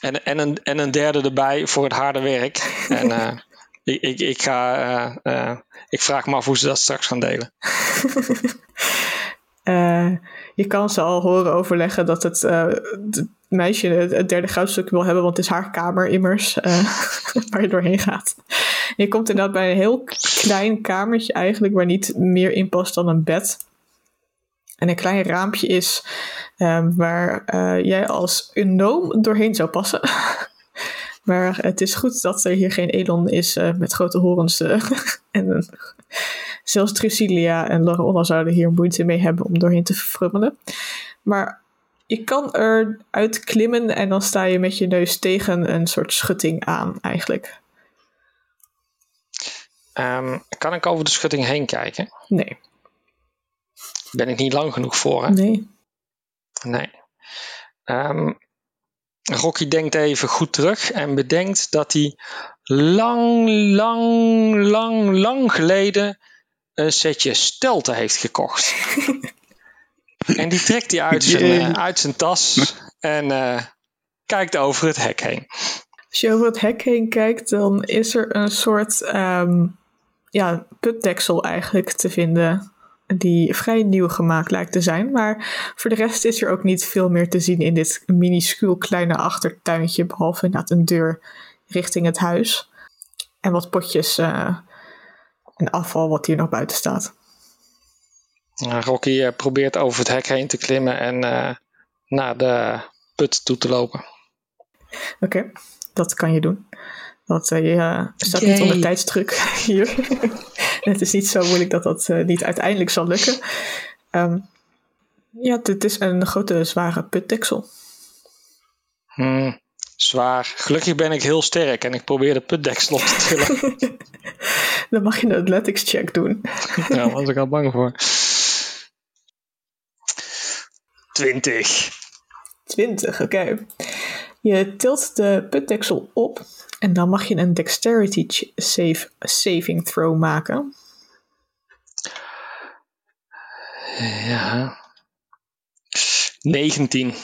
Speaker 4: En, en, een, en een derde erbij voor het harde werk. En eh, ik, ik, ik, ga, eh, eh, ik vraag me af hoe ze dat straks gaan delen.
Speaker 1: Eh, je kan ze al horen overleggen dat het, eh, het meisje het, het derde goudstuk wil hebben, want het is haar kamer immers eh, waar je doorheen gaat. Je komt inderdaad bij een heel klein kamertje eigenlijk, waar niet meer in past dan een bed. En een klein raampje is eh, waar eh, jij als een noom doorheen zou passen. Maar het is goed dat er hier geen Elon is eh, met grote horens. eh, en een- zelfs Trucilia en Lorona zouden hier moeite mee hebben om doorheen te frummelen. Maar je kan eruit klimmen en dan sta je met je neus tegen een soort schutting aan eigenlijk.
Speaker 4: Ehm, kan ik over de schutting heen kijken?
Speaker 1: Nee,
Speaker 4: Ben ik niet lang genoeg voor, hè?
Speaker 1: nee.
Speaker 4: Nee. Ehm, Rocky denkt even goed terug en bedenkt dat hij lang, lang, lang, lang geleden een setje stelten heeft gekocht. en die trekt hij uit zijn, eh,
Speaker 2: Jee.
Speaker 4: uit zijn tas en eh, kijkt over het hek heen.
Speaker 1: Als je over het hek heen kijkt, dan is er een soort ehm, ja, putdeksel eigenlijk te vinden. Die vrij nieuw gemaakt lijkt te zijn. Maar voor de rest is er ook niet veel meer te zien in dit minuscuul kleine achtertuintje. Behalve inderdaad een deur richting het huis. En wat potjes eh, en afval wat hier nog buiten staat.
Speaker 4: Eh, Rocky eh, probeert over het hek heen te klimmen en eh, naar de put toe te lopen.
Speaker 1: Oké. dat, dat kan je doen. Want uh, je uh, staat niet onder tijdsdruk hier. het is niet zo moeilijk dat dat uh, niet uiteindelijk zal lukken. Um, ja, dit is een grote zware putdeksel.
Speaker 4: Hmm, zwaar. Gelukkig ben ik heel sterk en ik probeer de putdeksel op te tillen.
Speaker 1: Dan mag je een athletics check doen.
Speaker 4: ja, was ik al bang voor. 20.
Speaker 1: 20, oké. Okay. Je tilt de putdeksel op en dan mag je een dexterity save, saving throw maken.
Speaker 4: Ja. 19.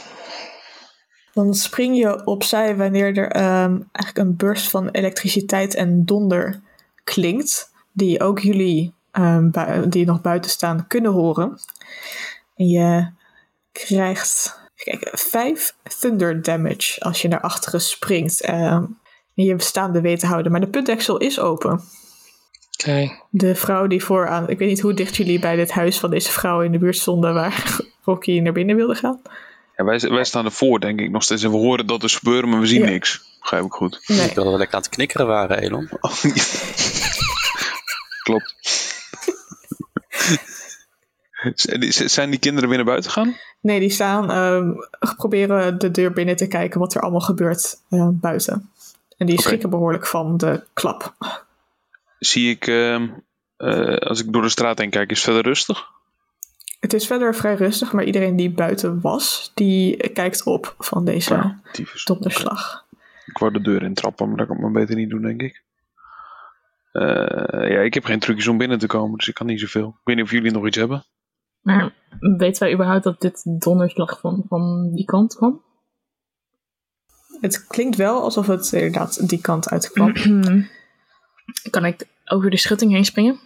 Speaker 1: Dan spring je opzij wanneer er um, eigenlijk een burst van elektriciteit en donder klinkt, die ook jullie um, die nog buiten staan kunnen horen. En je krijgt kijk, 5 thunder damage als je naar achteren springt. Um, je bestaande weten houden. Maar de putdeksel is open. Oké.
Speaker 4: Okay.
Speaker 1: De vrouw die vooraan. Ik weet niet hoe dicht jullie bij dit huis van deze vrouw in de buurt stonden. waar Rocky naar binnen wilde gaan.
Speaker 2: Ja, wij, wij staan ervoor, denk ik nog steeds. En we horen dat er gebeuren, maar we zien ja. niks. Begrijp ik goed.
Speaker 5: Nee. Ik dat we lekker aan het knikkeren waren, Elon.
Speaker 2: Oh, ja. Klopt. Zijn die kinderen weer naar buiten gaan?
Speaker 1: Nee, die staan um, proberen de deur binnen te kijken wat er allemaal gebeurt uh, buiten. En die okay. schrikken behoorlijk van de klap.
Speaker 2: Zie ik, uh, uh, als ik door de straat heen kijk, is het verder rustig?
Speaker 1: Het is verder vrij rustig, maar iedereen die buiten was, die kijkt op van deze ja, donderslag.
Speaker 2: Okay. Ik wou de deur in trappen, maar dat kan ik maar beter niet doen, denk ik. Uh, ja, ik heb geen trucjes om binnen te komen, dus ik kan niet zoveel. Ik weet niet of jullie nog iets hebben.
Speaker 3: Maar weten wij überhaupt dat dit donderslag van, van die kant kwam?
Speaker 1: Het klinkt wel alsof het inderdaad die kant uitkwam.
Speaker 3: kan ik over de schutting heen springen?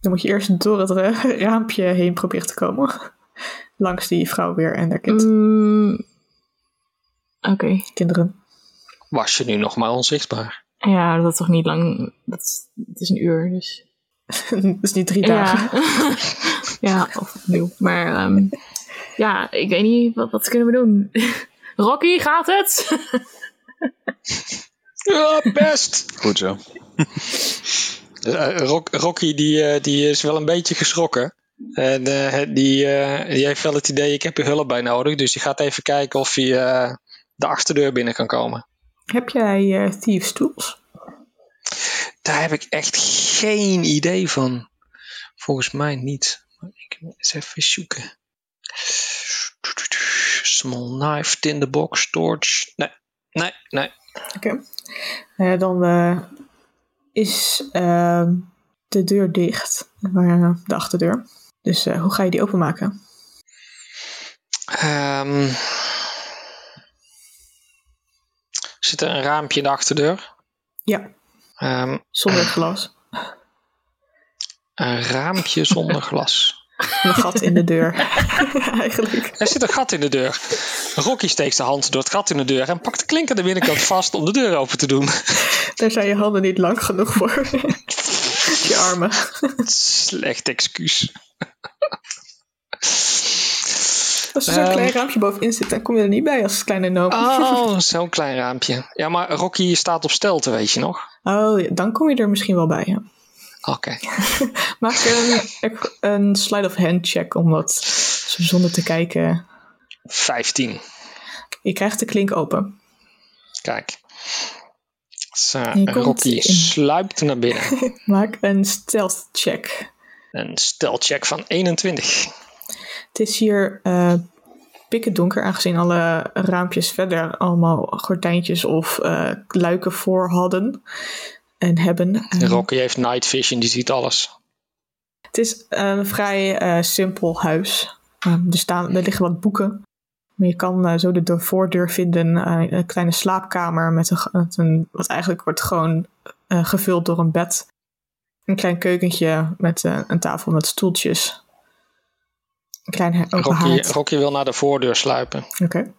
Speaker 1: Dan moet je eerst door het raampje heen proberen te komen. Langs die vrouw weer en haar kind.
Speaker 3: Mm, Oké. Okay.
Speaker 1: Kinderen.
Speaker 4: Was je nu nog maar onzichtbaar?
Speaker 3: Ja, dat is toch niet lang. Dat is, het is een uur, dus.
Speaker 1: dat is niet drie dagen.
Speaker 3: Ja, ja of opnieuw. Maar um, ja, ik weet niet, wat, wat kunnen we doen? Rocky, gaat het?
Speaker 4: ja, best.
Speaker 2: Goed zo.
Speaker 4: Uh, Rock, Rocky die, uh, die is wel een beetje geschrokken. En uh, die, die heeft wel het idee, ik heb je hulp bij nodig. Dus die gaat even kijken of hij eh, de achterdeur binnen kan komen.
Speaker 1: Heb jij eh, Thieves Tools?
Speaker 4: Daar heb ik echt geen idee van. Volgens mij niet. Maar ik moet eens even zoeken. Small knife, tinderbox, torch. Nee, nee, nee.
Speaker 1: Oké. Okay. Uh, dan uh, is uh, de deur dicht. Maar, de achterdeur. Dus hoe ga je die openmaken?
Speaker 4: Um, zit er een raampje in de achterdeur?
Speaker 1: Ja.
Speaker 4: Um,
Speaker 1: zonder glas.
Speaker 4: Een raampje zonder glas.
Speaker 1: Een gat in de deur. Eigenlijk.
Speaker 4: Er zit een gat in de deur. Rocky steekt zijn hand door het gat in de deur en pakt de klink aan de binnenkant vast om de deur open te doen.
Speaker 1: Daar zijn je handen niet lang genoeg voor. je armen.
Speaker 4: Slecht excuus.
Speaker 1: Als er zo'n um, klein raampje bovenin zit, dan kom je er niet bij als kleine noom.
Speaker 4: Oh, zo'n klein raampje. Ja, maar Rocky staat op stelte, weet je nog?
Speaker 1: Oh, dan kom je er misschien wel bij, ja.
Speaker 4: Oké. Okay.
Speaker 1: Maak een, een slide of hand check om dat zonder te kijken.
Speaker 4: 15.
Speaker 1: Je krijgt de klink open.
Speaker 4: Kijk. Zo, Rocky sluipt naar binnen.
Speaker 1: Maak een stealth check.
Speaker 4: Een stealth check van 21.
Speaker 1: Het is hier uh, pikken donker, aangezien alle raampjes verder allemaal gordijntjes of uh, luiken voor hadden en hebben. Eh,
Speaker 4: En Rocky heeft night vision, die ziet alles.
Speaker 1: Het is een vrij uh, simpel huis. Um, er, staan, er liggen wat boeken. Maar je kan uh, zo de, de, voordeur vinden, uh, een kleine slaapkamer met een, met een wat eigenlijk wordt gewoon eh, gevuld door een bed. Een klein keukentje met eh, een tafel met stoeltjes. Een klein
Speaker 4: Rocky, Rocky, wil naar de voordeur sluipen.
Speaker 1: Oké. Okay.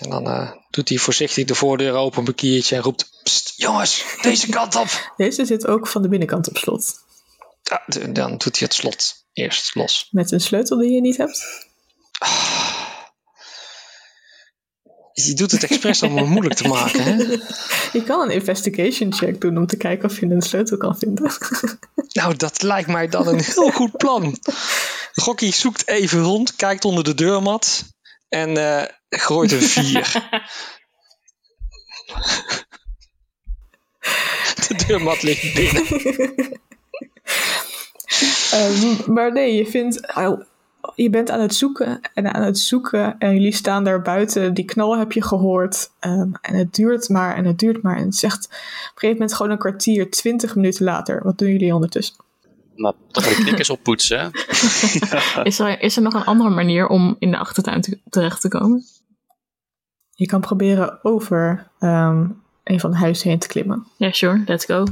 Speaker 4: En dan uh, doet hij voorzichtig de voordeur open, een kiertje en roept: Pst, jongens, deze kant op.
Speaker 1: Deze zit ook van de binnenkant op slot.
Speaker 4: Ja, de, dan doet hij het slot eerst los.
Speaker 1: Met een sleutel die je niet hebt?
Speaker 4: Ah. Je doet het expres om het moeilijk te maken, hè?
Speaker 1: Je kan een investigation check doen om te kijken of je een sleutel kan vinden.
Speaker 4: Nou, dat lijkt mij dan een heel goed plan. Gokkie zoekt even rond, kijkt onder de deurmat en eh, gooit een vier. de deurmat ligt binnen.
Speaker 1: Ehm, maar nee, je vindt. au, je bent aan het zoeken en aan het zoeken. En jullie staan daar buiten. Die knal heb je gehoord. Ehm, en het duurt maar en het duurt maar. En het is echt op een gegeven moment gewoon een kwartier, twintig minuten later. Wat doen jullie ondertussen?
Speaker 5: Nou, toch de knikkers oppoetsen. hè?
Speaker 3: Is er, is er nog een andere manier om in de achtertuin te- terecht te komen?
Speaker 1: Je kan proberen over ehm, een van de huizen heen te klimmen.
Speaker 3: Ja, sure, let's go.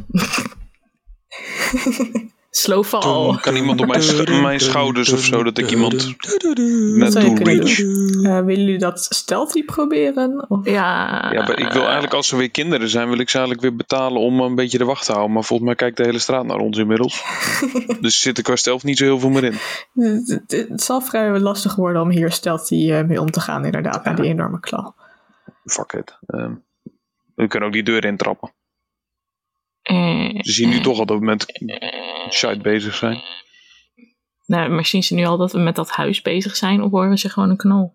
Speaker 3: Slow fall.
Speaker 2: Kan iemand op mijn, sch- mijn schouders of zo, dat ik iemand
Speaker 1: Oh. Dat
Speaker 2: net
Speaker 1: zou je
Speaker 2: doe
Speaker 1: kunnen
Speaker 2: reach?
Speaker 1: doen. Eh, willen jullie dat stealthy proberen? Of?
Speaker 3: Ja,
Speaker 2: Ja, maar ik wil eigenlijk als ze weer kinderen zijn, wil ik ze eigenlijk weer betalen om een beetje de wacht te houden. Maar volgens mij kijkt de hele straat naar ons inmiddels. dus zit er qua zelf niet zo heel veel meer in.
Speaker 1: Het- Het het zal vrij lastig worden om hier stealthy eh, mee om te gaan, inderdaad, na die enorme klal.
Speaker 2: Fuck it. Ehm, we kunnen ook die deur intrappen.
Speaker 3: eh,
Speaker 2: Ze zien nu toch al dat we met shite bezig zijn.
Speaker 3: nou, maar zien ze nu al dat we met dat huis bezig zijn of horen ze gewoon een knal?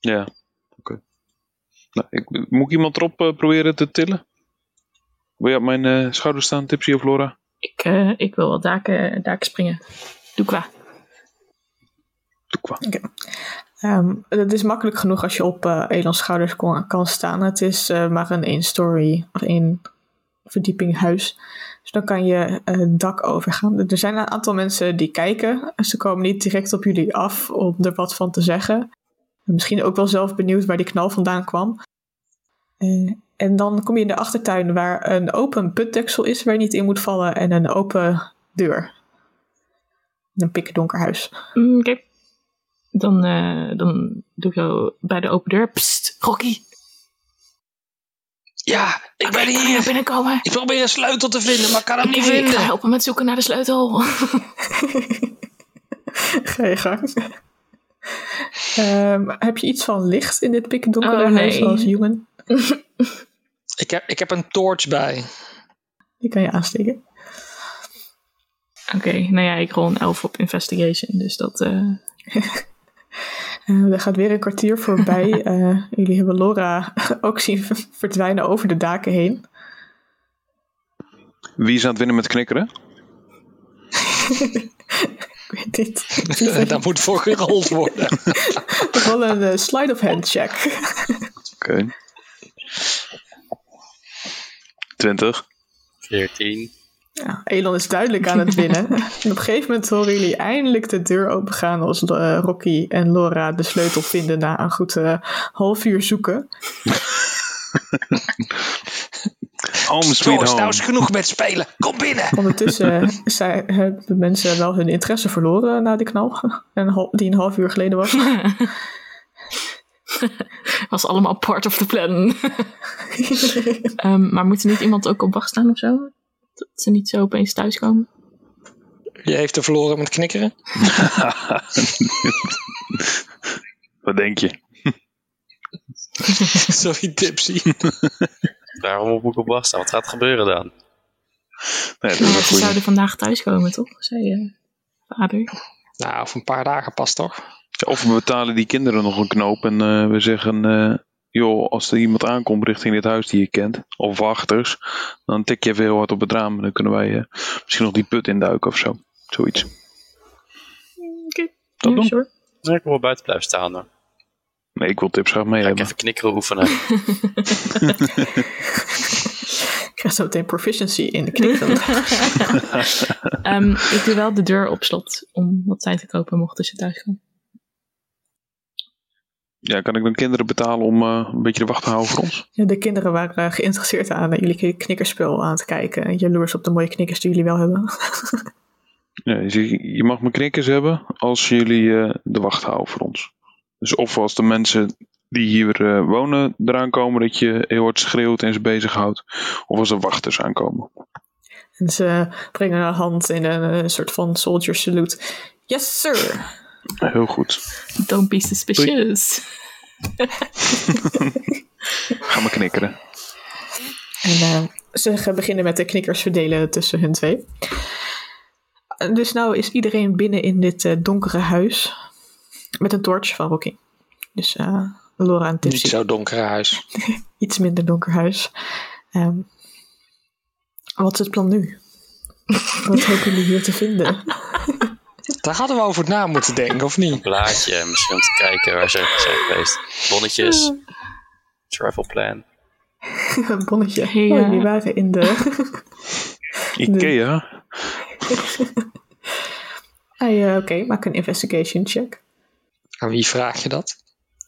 Speaker 2: Ja, oké. Nou, ik, moet ik iemand erop eh, proberen te tillen? Wil je op mijn eh, schouder staan, Tipsy of Laura?
Speaker 3: Ik, eh, ik wil wel daken, daken springen. Doe qua.
Speaker 2: Doe kwam.
Speaker 1: Ehm, het is makkelijk genoeg als je op eh Elons schouders kon- kan staan. Het is eh, maar een één story of één verdieping huis. Dus dan kan je eh, het dak overgaan. Er zijn een aantal mensen die kijken. Ze komen niet direct op jullie af om er wat van te zeggen. Misschien ook wel zelf benieuwd waar die knal vandaan kwam. Eh, en dan kom je in de achtertuin waar een open putdeksel is waar je niet in moet vallen en een open deur. Een pikdonker huis.
Speaker 3: Mm, Oké. Dan, eh, dan doe ik zo bij de open deur. Psst, Rocky.
Speaker 4: Ja, ik ben
Speaker 3: Kan je naar
Speaker 4: hier.
Speaker 3: binnen komen?
Speaker 4: Ik probeer een sleutel te vinden, maar ik kan hem niet
Speaker 3: Oké, ik ga
Speaker 4: vinden.
Speaker 3: helpen met zoeken naar de sleutel.
Speaker 1: Ga je gang. Ehm, heb je iets van licht in dit pikdonkere
Speaker 3: Oh,
Speaker 1: huis
Speaker 3: nee.
Speaker 1: als human?
Speaker 4: Ik heb, ik heb een torch bij.
Speaker 1: Die kan je aansteken.
Speaker 3: Oké, nou ja, ik rol een 11 op investigation, dus dat... eh,
Speaker 1: Eh er gaat weer een kwartier voorbij. Eh, jullie hebben Laura ook zien ver- verdwijnen over de daken heen.
Speaker 2: Wie is aan het winnen met knikkeren?
Speaker 1: Ik weet dit.
Speaker 4: Daar moet voor gerold worden.
Speaker 1: Wel een eh, slide of hand check.
Speaker 2: Oké. 20.
Speaker 5: 14.
Speaker 1: Ja, Elon is duidelijk aan het winnen. en op een gegeven moment horen jullie eindelijk de deur opengaan als eh, Rocky en Laura de sleutel vinden na een goed eh, half uur zoeken.
Speaker 2: Home sweet
Speaker 4: Torch,
Speaker 2: home.
Speaker 4: nou is genoeg met spelen. Kom binnen.
Speaker 1: Ondertussen zijn, hebben mensen wel hun interesse verloren na de knal. Een hal- die een half uur geleden was.
Speaker 3: was allemaal part of the plan. Ehm, maar moet er niet iemand ook op wacht staan of zo? Dat ze niet zo opeens thuiskomen?
Speaker 4: Je heeft er verloren met knikkeren.
Speaker 2: Wat denk je?
Speaker 4: Sorry, tipsy.
Speaker 5: Daarom moet ik op wacht staan. Wat gaat er gebeuren dan?
Speaker 2: Nee, dat is
Speaker 3: Ja, ze
Speaker 2: een goeie.
Speaker 3: zouden vandaag thuiskomen, toch? Zei je vader.
Speaker 4: Nou, over een paar dagen pas toch?
Speaker 2: Of we betalen die kinderen nog een knoop en eh, we zeggen... eh, joh, als er iemand aankomt richting dit huis die je kent... of wachters, dan tik je even heel hard op het raam... en dan kunnen wij eh, misschien nog die put induiken of zo. Zoiets.
Speaker 3: Oké,
Speaker 2: Dat
Speaker 3: ja,
Speaker 2: doen.
Speaker 3: sure.
Speaker 5: Dus ik wil wel buiten blijven staan hoor.
Speaker 2: Nee, ik wil tips graag mee
Speaker 5: Ga ik
Speaker 2: hebben.
Speaker 5: even knikkeren oefenen.
Speaker 1: Ik krijg zo meteen proficiency in de knikken.
Speaker 3: Ehm, ik doe wel de deur op slot om wat tijd te kopen mochten ze thuiskomen.
Speaker 2: Ja, kan ik dan kinderen betalen om eh, een beetje de wacht te houden voor ons?
Speaker 1: Ja, de kinderen waren eh, geïnteresseerd aan eh, jullie knikkerspel aan het kijken. En Jaloers op de mooie knikkers die jullie wel hebben.
Speaker 2: Ja, je zegt, je mag mijn knikkers hebben als jullie eh, de wacht houden voor ons. Dus of als de mensen die hier eh, wonen eraan komen, dat je heel hard schreeuwt en ze bezighoudt. Of als er wachters aankomen.
Speaker 1: En ze brengen een hand in een, eh, soort van soldier salute. Yes, sir!
Speaker 2: Nou, Heel goed.
Speaker 3: Don't be suspicious.
Speaker 2: Ga maar knikkeren.
Speaker 1: En eh, ze gaan beginnen met de knikkers verdelen tussen hun twee. Eh, Dus nou is iedereen binnen in dit eh, donkere huis. Met een torch van Rocky. Dus eh, Laura en
Speaker 4: Niet
Speaker 1: Tipsy.
Speaker 4: zo donkere huis.
Speaker 1: Iets minder donker huis. Ehm, wat is het plan nu? wat hopen jullie hier te vinden?
Speaker 4: Daar hadden we over na moeten denken, of niet?
Speaker 5: Plaatje, misschien om te kijken waar ze zijn geweest. Bonnetjes. Travel plan.
Speaker 1: Een bonnetje.
Speaker 3: Hey,
Speaker 1: Oh,
Speaker 3: eh.
Speaker 1: jullie waren in de...
Speaker 2: Ikea.
Speaker 1: Ah, ja, Oké, maak een investigation check.
Speaker 4: Aan wie vraag je dat?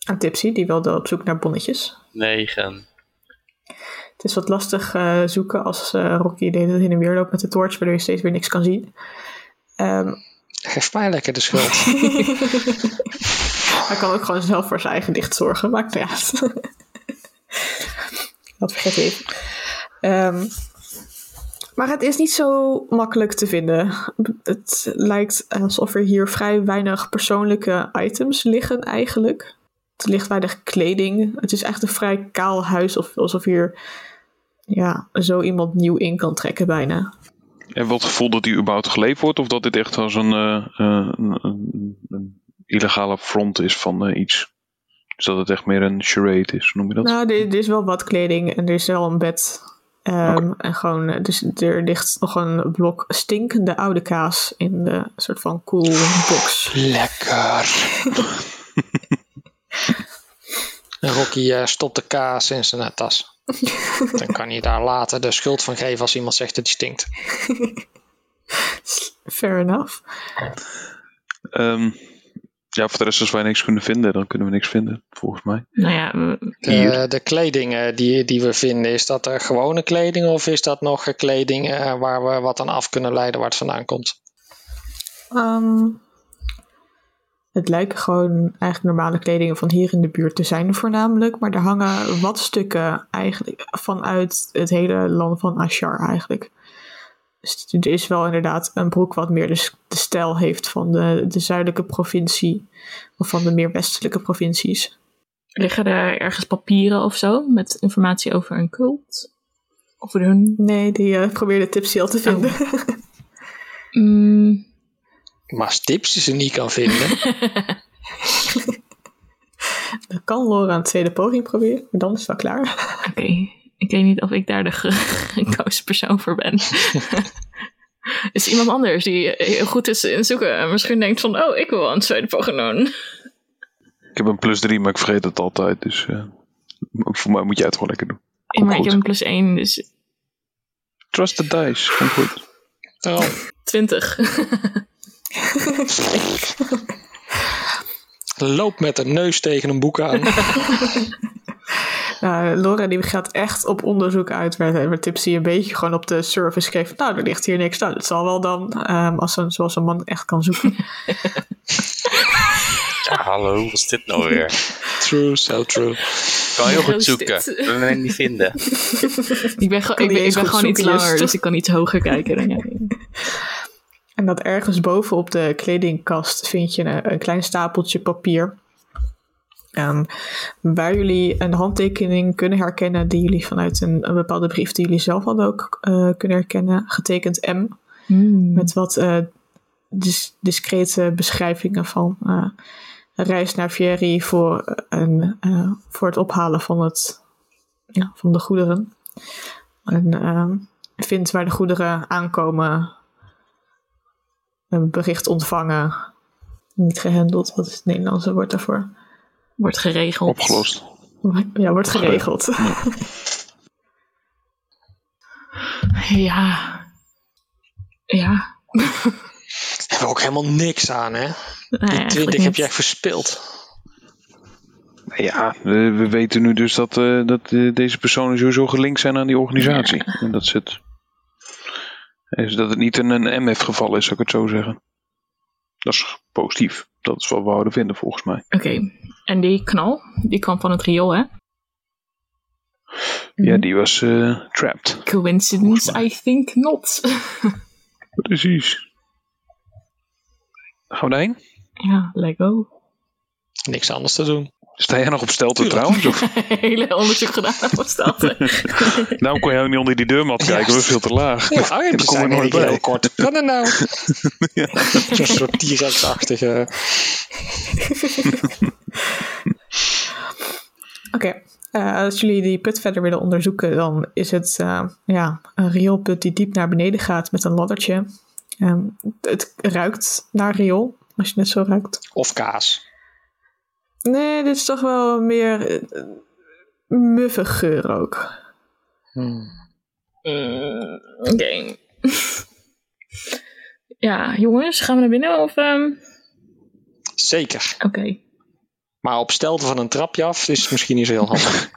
Speaker 1: Aan Tipsy, die wilde op zoek naar bonnetjes.
Speaker 5: Negen.
Speaker 1: Het is wat lastig eh, zoeken als eh, Rocky de hele tijd heen en weer loopt met de torch, waardoor je steeds weer niks kan zien. Ehm,
Speaker 4: Geef mij lekker de schuld.
Speaker 1: hij kan ook gewoon zelf voor zijn eigen licht zorgen, maakt niet uit. dat vergeet ik even. Ehm, maar het is niet zo makkelijk te vinden. Het lijkt alsof er hier vrij weinig persoonlijke items liggen eigenlijk. Het ligt weinig kleding. Het is echt een vrij kaal huis, of- alsof hier ja, zo iemand nieuw in kan trekken bijna.
Speaker 2: En wat gevoel dat die überhaupt geleefd wordt? Of dat dit echt als een, eh, eh, een- een- een illegale front is van eh, iets? Dus dat het echt meer een charade is, noem je dat?
Speaker 1: Nou, er, er is wel wat kleding en er is wel een bed. Ehm, En gewoon, eh, dus er ligt nog een blok stinkende oude kaas in de soort van cool box.
Speaker 4: lekker. En Rocky eh, stopt de kaas in zijn tas. Dan kan hij daar later de schuld van geven als iemand zegt dat die stinkt.
Speaker 1: Fair enough.
Speaker 2: Ehm, ja, voor de rest als wij niks kunnen vinden, dan kunnen we niks vinden, volgens mij.
Speaker 3: Nou ja, mm,
Speaker 4: De,
Speaker 2: Hier.
Speaker 4: de kleding eh, die, die we vinden, is dat er gewone kleding of is dat nog eh, kleding eh, waar we wat aan af kunnen leiden waar het vandaan komt?
Speaker 1: Ehm, het lijken gewoon eigenlijk normale kledingen van hier in de buurt te zijn voornamelijk. Maar er hangen wat stukken eigenlijk vanuit het hele land van Ashar eigenlijk. Dus het is wel inderdaad een broek wat meer de, s- de stijl heeft van de, de zuidelijke provincie. Of van de meer westelijke provincies.
Speaker 3: liggen daar ergens papieren of zo met informatie over een cult? Over hun.
Speaker 1: Nee, die eh, probeerde Tipsy al te vinden.
Speaker 3: Mm,
Speaker 4: Maar als tips die ze niet kan vinden,
Speaker 1: Dan kan Laura een tweede poging proberen, maar dan is het wel klaar.
Speaker 3: Oké, ik weet niet of ik daar de ge- gekozen persoon voor ben. is iemand anders die heel goed is in zoeken en misschien denkt van, oh, ik wil wel een tweede poging doen.
Speaker 2: Ik heb een plus 3, maar ik vergeet het altijd. Dus eh, voor mij moet jij het gewoon lekker doen.
Speaker 3: Ja, maar ik
Speaker 2: goed.
Speaker 3: heb een plus 1, dus
Speaker 2: Trust the dice. Komt goed.
Speaker 4: oh,
Speaker 3: 20.
Speaker 4: loop met de neus tegen een boek aan.
Speaker 1: Nou, Laura die gaat echt op onderzoek uit waar, waar Tipsy een beetje gewoon op de service geeft. Nou, er ligt hier niks. Nou, dat zal wel dan, ehm, als een, zoals een man echt kan zoeken.
Speaker 5: Ja, hallo, wat is dit nou weer?
Speaker 4: True, so true.
Speaker 5: Kan heel goed
Speaker 3: Roast
Speaker 5: zoeken.
Speaker 3: it.
Speaker 5: We ben niet vinden.
Speaker 3: Ik ben, gewoon-
Speaker 1: Kan niet
Speaker 3: ik ben, ik
Speaker 1: eens
Speaker 3: ben
Speaker 1: goed
Speaker 3: gewoon iets
Speaker 1: zoeken,
Speaker 3: langer,
Speaker 1: dus.
Speaker 3: dus ik kan iets hoger kijken dan jij.
Speaker 1: en dat ergens boven op de kledingkast vind je een, een klein stapeltje papier. Ehm, waar jullie een handtekening kunnen herkennen die jullie vanuit een, een bepaalde brief die jullie zelf hadden ook eh, kunnen herkennen. Getekend M. Met wat eh, dis- discrete beschrijvingen van eh, een reis naar Fieri voor, een, eh, voor het ophalen van, het, ja, van de goederen. En ehm, vindt waar de goederen aankomen. Een bericht ontvangen. Niet gehandeld, wat is het Nederlandse woord daarvoor?
Speaker 3: Wordt geregeld.
Speaker 2: Opgelost.
Speaker 1: Ja, wordt geregeld.
Speaker 3: Ja. Ja.
Speaker 4: Hebben we ook helemaal niks aan, hè?
Speaker 3: Nou,
Speaker 4: Die
Speaker 3: ja,
Speaker 4: 20
Speaker 3: goed.
Speaker 4: heb je echt verspild.
Speaker 2: Ja, we, we weten nu dus dat, eh, dat eh, deze personen sowieso gelinkt zijn aan die organisatie. En dat is het. Is dat het niet een, een MF-geval is, zou ik het zo zeggen. Dat is positief. Dat is wat we houden vinden, volgens mij.
Speaker 3: Oké, en die knal, die kwam van het riool, hè?
Speaker 2: Ja, die was eh, trapped.
Speaker 3: Coincidence, I think not.
Speaker 2: Precies. Gaan we daarheen?
Speaker 3: ja, Lego.
Speaker 4: Niks anders te doen.
Speaker 2: Sta jij nog op stelte trouwens? Of?
Speaker 3: Hele onderzoek gedaan was dat.
Speaker 2: Nou kon jij ook niet onder die deurmat kijken, we
Speaker 4: Juist.
Speaker 2: waren veel te laag.
Speaker 4: Ja, mijn
Speaker 2: Daar
Speaker 4: armpjes
Speaker 2: kom je
Speaker 4: zijn
Speaker 2: nooit
Speaker 4: eigenlijk
Speaker 2: bij.
Speaker 4: heel kort. Kan er nou? Zo'n soort T-Rex-achtige... eh,
Speaker 1: Oké, eh, als jullie die put verder willen onderzoeken, dan is het eh, ja, een rioolput die diep naar beneden gaat met een laddertje. Ehm, het ruikt naar riool, als je het zo ruikt.
Speaker 4: Of kaas.
Speaker 1: Nee, dit is toch wel meer eh, muffig geur ook.
Speaker 2: Hmm.
Speaker 3: Mm, Oké. ja, jongens, gaan we naar binnen of... ehm,
Speaker 4: Zeker.
Speaker 3: Oké.
Speaker 4: Maar op stelte van een trapje af is het misschien niet zo heel handig.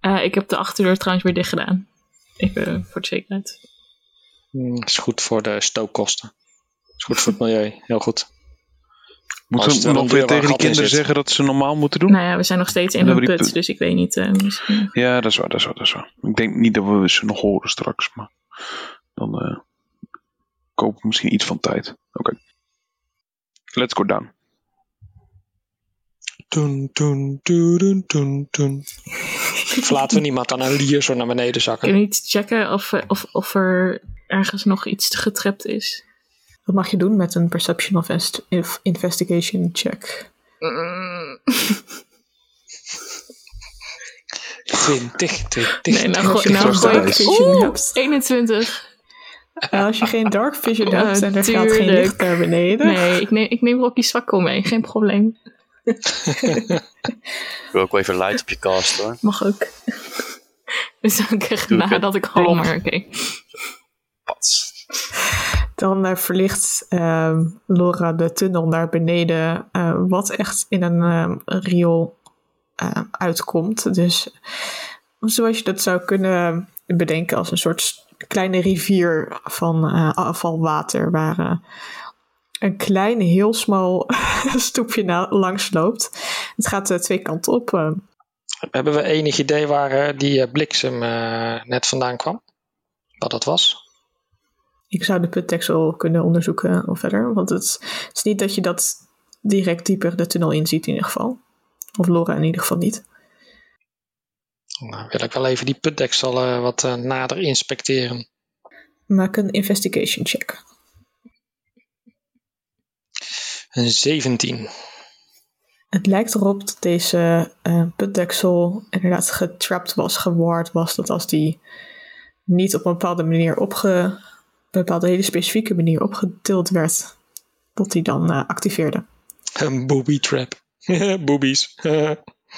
Speaker 3: Eh, ik heb de achterdeur trouwens weer dicht gedaan. Even eh, voor de zekerheid.
Speaker 4: Hmm, is goed voor de stookkosten. Is goed voor het milieu. Heel goed. Als
Speaker 2: Moeten
Speaker 4: er
Speaker 2: we
Speaker 4: een
Speaker 2: nog
Speaker 4: deur
Speaker 2: weer
Speaker 4: waar
Speaker 2: tegen
Speaker 4: een
Speaker 2: die
Speaker 4: gat in
Speaker 2: kinderen
Speaker 4: zit.
Speaker 2: zeggen dat ze normaal moeten doen?
Speaker 3: Nou ja, we zijn nog steeds in
Speaker 2: Dan
Speaker 3: een
Speaker 2: hebben we die
Speaker 3: put, dus ik weet niet. ehm, misschien-
Speaker 2: Ja, dat is waar, dat is waar, dat is waar. Ik denk niet dat we ze nog horen straks, maar dan eh kopen we misschien iets van tijd. Oké. Let's go down.
Speaker 4: Toen, toen, toen, toen, toen. Verlaten we niemand aan een lier zo naar beneden zakken.
Speaker 3: Kunnen we niet checken of, eh, of, of er ergens nog iets getrapt is?
Speaker 1: Dat mag je doen met een perception of, inst- of investigation check.
Speaker 3: Mm.
Speaker 4: 20, 20,
Speaker 3: Nee, nou, gooi- nou
Speaker 2: Zoals dat
Speaker 3: gooi
Speaker 2: is.
Speaker 3: ik... Oeh, 21.
Speaker 1: Eh, als je geen dark vision
Speaker 3: Ja,
Speaker 1: hebt en er gaat geen
Speaker 3: tuurlijk.
Speaker 1: licht naar beneden.
Speaker 3: Nee, ik neem, ik neem Rocky Swakko mee. Geen probleem.
Speaker 5: Ik wil ook wel even light op je cast hoor.
Speaker 3: Mag ook. Dus dan krijg ik
Speaker 5: Doe ik het.
Speaker 3: nadat ik halm, maar oké.
Speaker 5: Pats.
Speaker 1: Dan eh, verlicht ehm, Laura de tunnel naar beneden, eh, wat echt in een ehm, riool eh, uitkomt. Dus zoals je dat zou kunnen bedenken als een soort s- kleine rivier van eh, afvalwater, waar eh, een klein, heel smal stoepje na- langs loopt. Het gaat eh, twee kanten op. eh.
Speaker 4: Hebben we enig idee waar eh, die eh, bliksem eh, net vandaan kwam? Wat dat was?
Speaker 1: Ik zou de putdeksel kunnen onderzoeken of verder. Want het is, het is niet dat je dat direct dieper de tunnel in ziet in ieder geval. Of Laura in ieder geval niet.
Speaker 4: Nou, wil ik wel even die putdeksel eh, wat eh, nader inspecteren.
Speaker 1: Maak een investigation check.
Speaker 4: Een 17.
Speaker 1: Het lijkt erop dat deze eh, putdeksel inderdaad getrapt was, geward was. Dat als die niet op een bepaalde manier opge... Op een bepaalde hele specifieke manier opgetild werd, dat die dan eh, activeerde.
Speaker 4: Een booby trap. Boobies.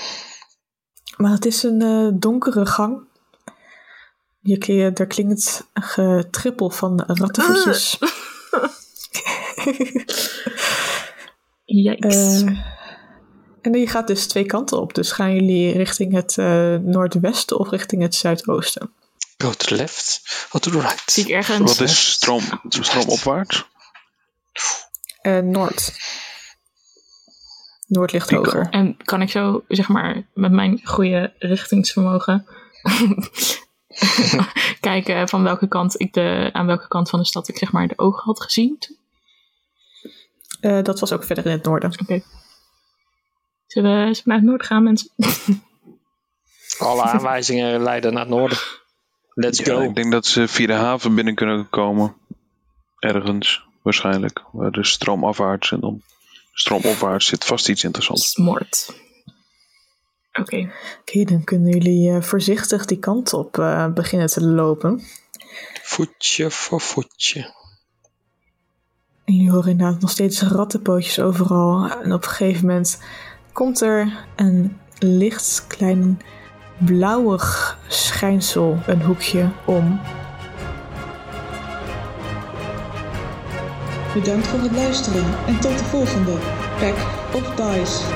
Speaker 1: Maar het is een eh, donkere gang. Je, kle- er klinkt een getrippel van rattenvoetjes.
Speaker 3: Yikes.
Speaker 1: Eh, en die gaat dus twee kanten op. Dus gaan jullie richting het eh, noordwesten of richting het zuidoosten?
Speaker 4: Go to the left, go to the right.
Speaker 3: Zie ik ergens...
Speaker 2: Wat is stroom, stroomopwaarts?
Speaker 1: Eh, noord. Noord ligt hoger.
Speaker 3: En kan ik zo, zeg maar, met mijn goede richtingsvermogen kijken van welke kant ik de, aan welke kant van de stad ik zeg maar de ogen had gezien? toen?
Speaker 1: Eh, dat was ook verder in het noorden.
Speaker 3: Oké. Zullen, we, zullen we naar het noorden gaan, mensen?
Speaker 4: Alle aanwijzingen leiden naar het noorden. Let's
Speaker 2: Ja,
Speaker 4: go.
Speaker 2: ik denk dat ze via de haven binnen kunnen komen. Ergens, waarschijnlijk. Waar de stroom afwaarts en dan stroomopwaarts zit vast iets interessants.
Speaker 3: Smart. Oké.
Speaker 1: Oké, dan kunnen jullie eh, voorzichtig die kant op eh, beginnen te lopen.
Speaker 4: Voetje voor voetje.
Speaker 1: En jullie horen inderdaad nog steeds rattenpootjes overal. En op een gegeven moment komt er een licht klein blauwig schijnsel een hoekje om.
Speaker 6: Bedankt voor het luisteren en tot de volgende Pack of Dice.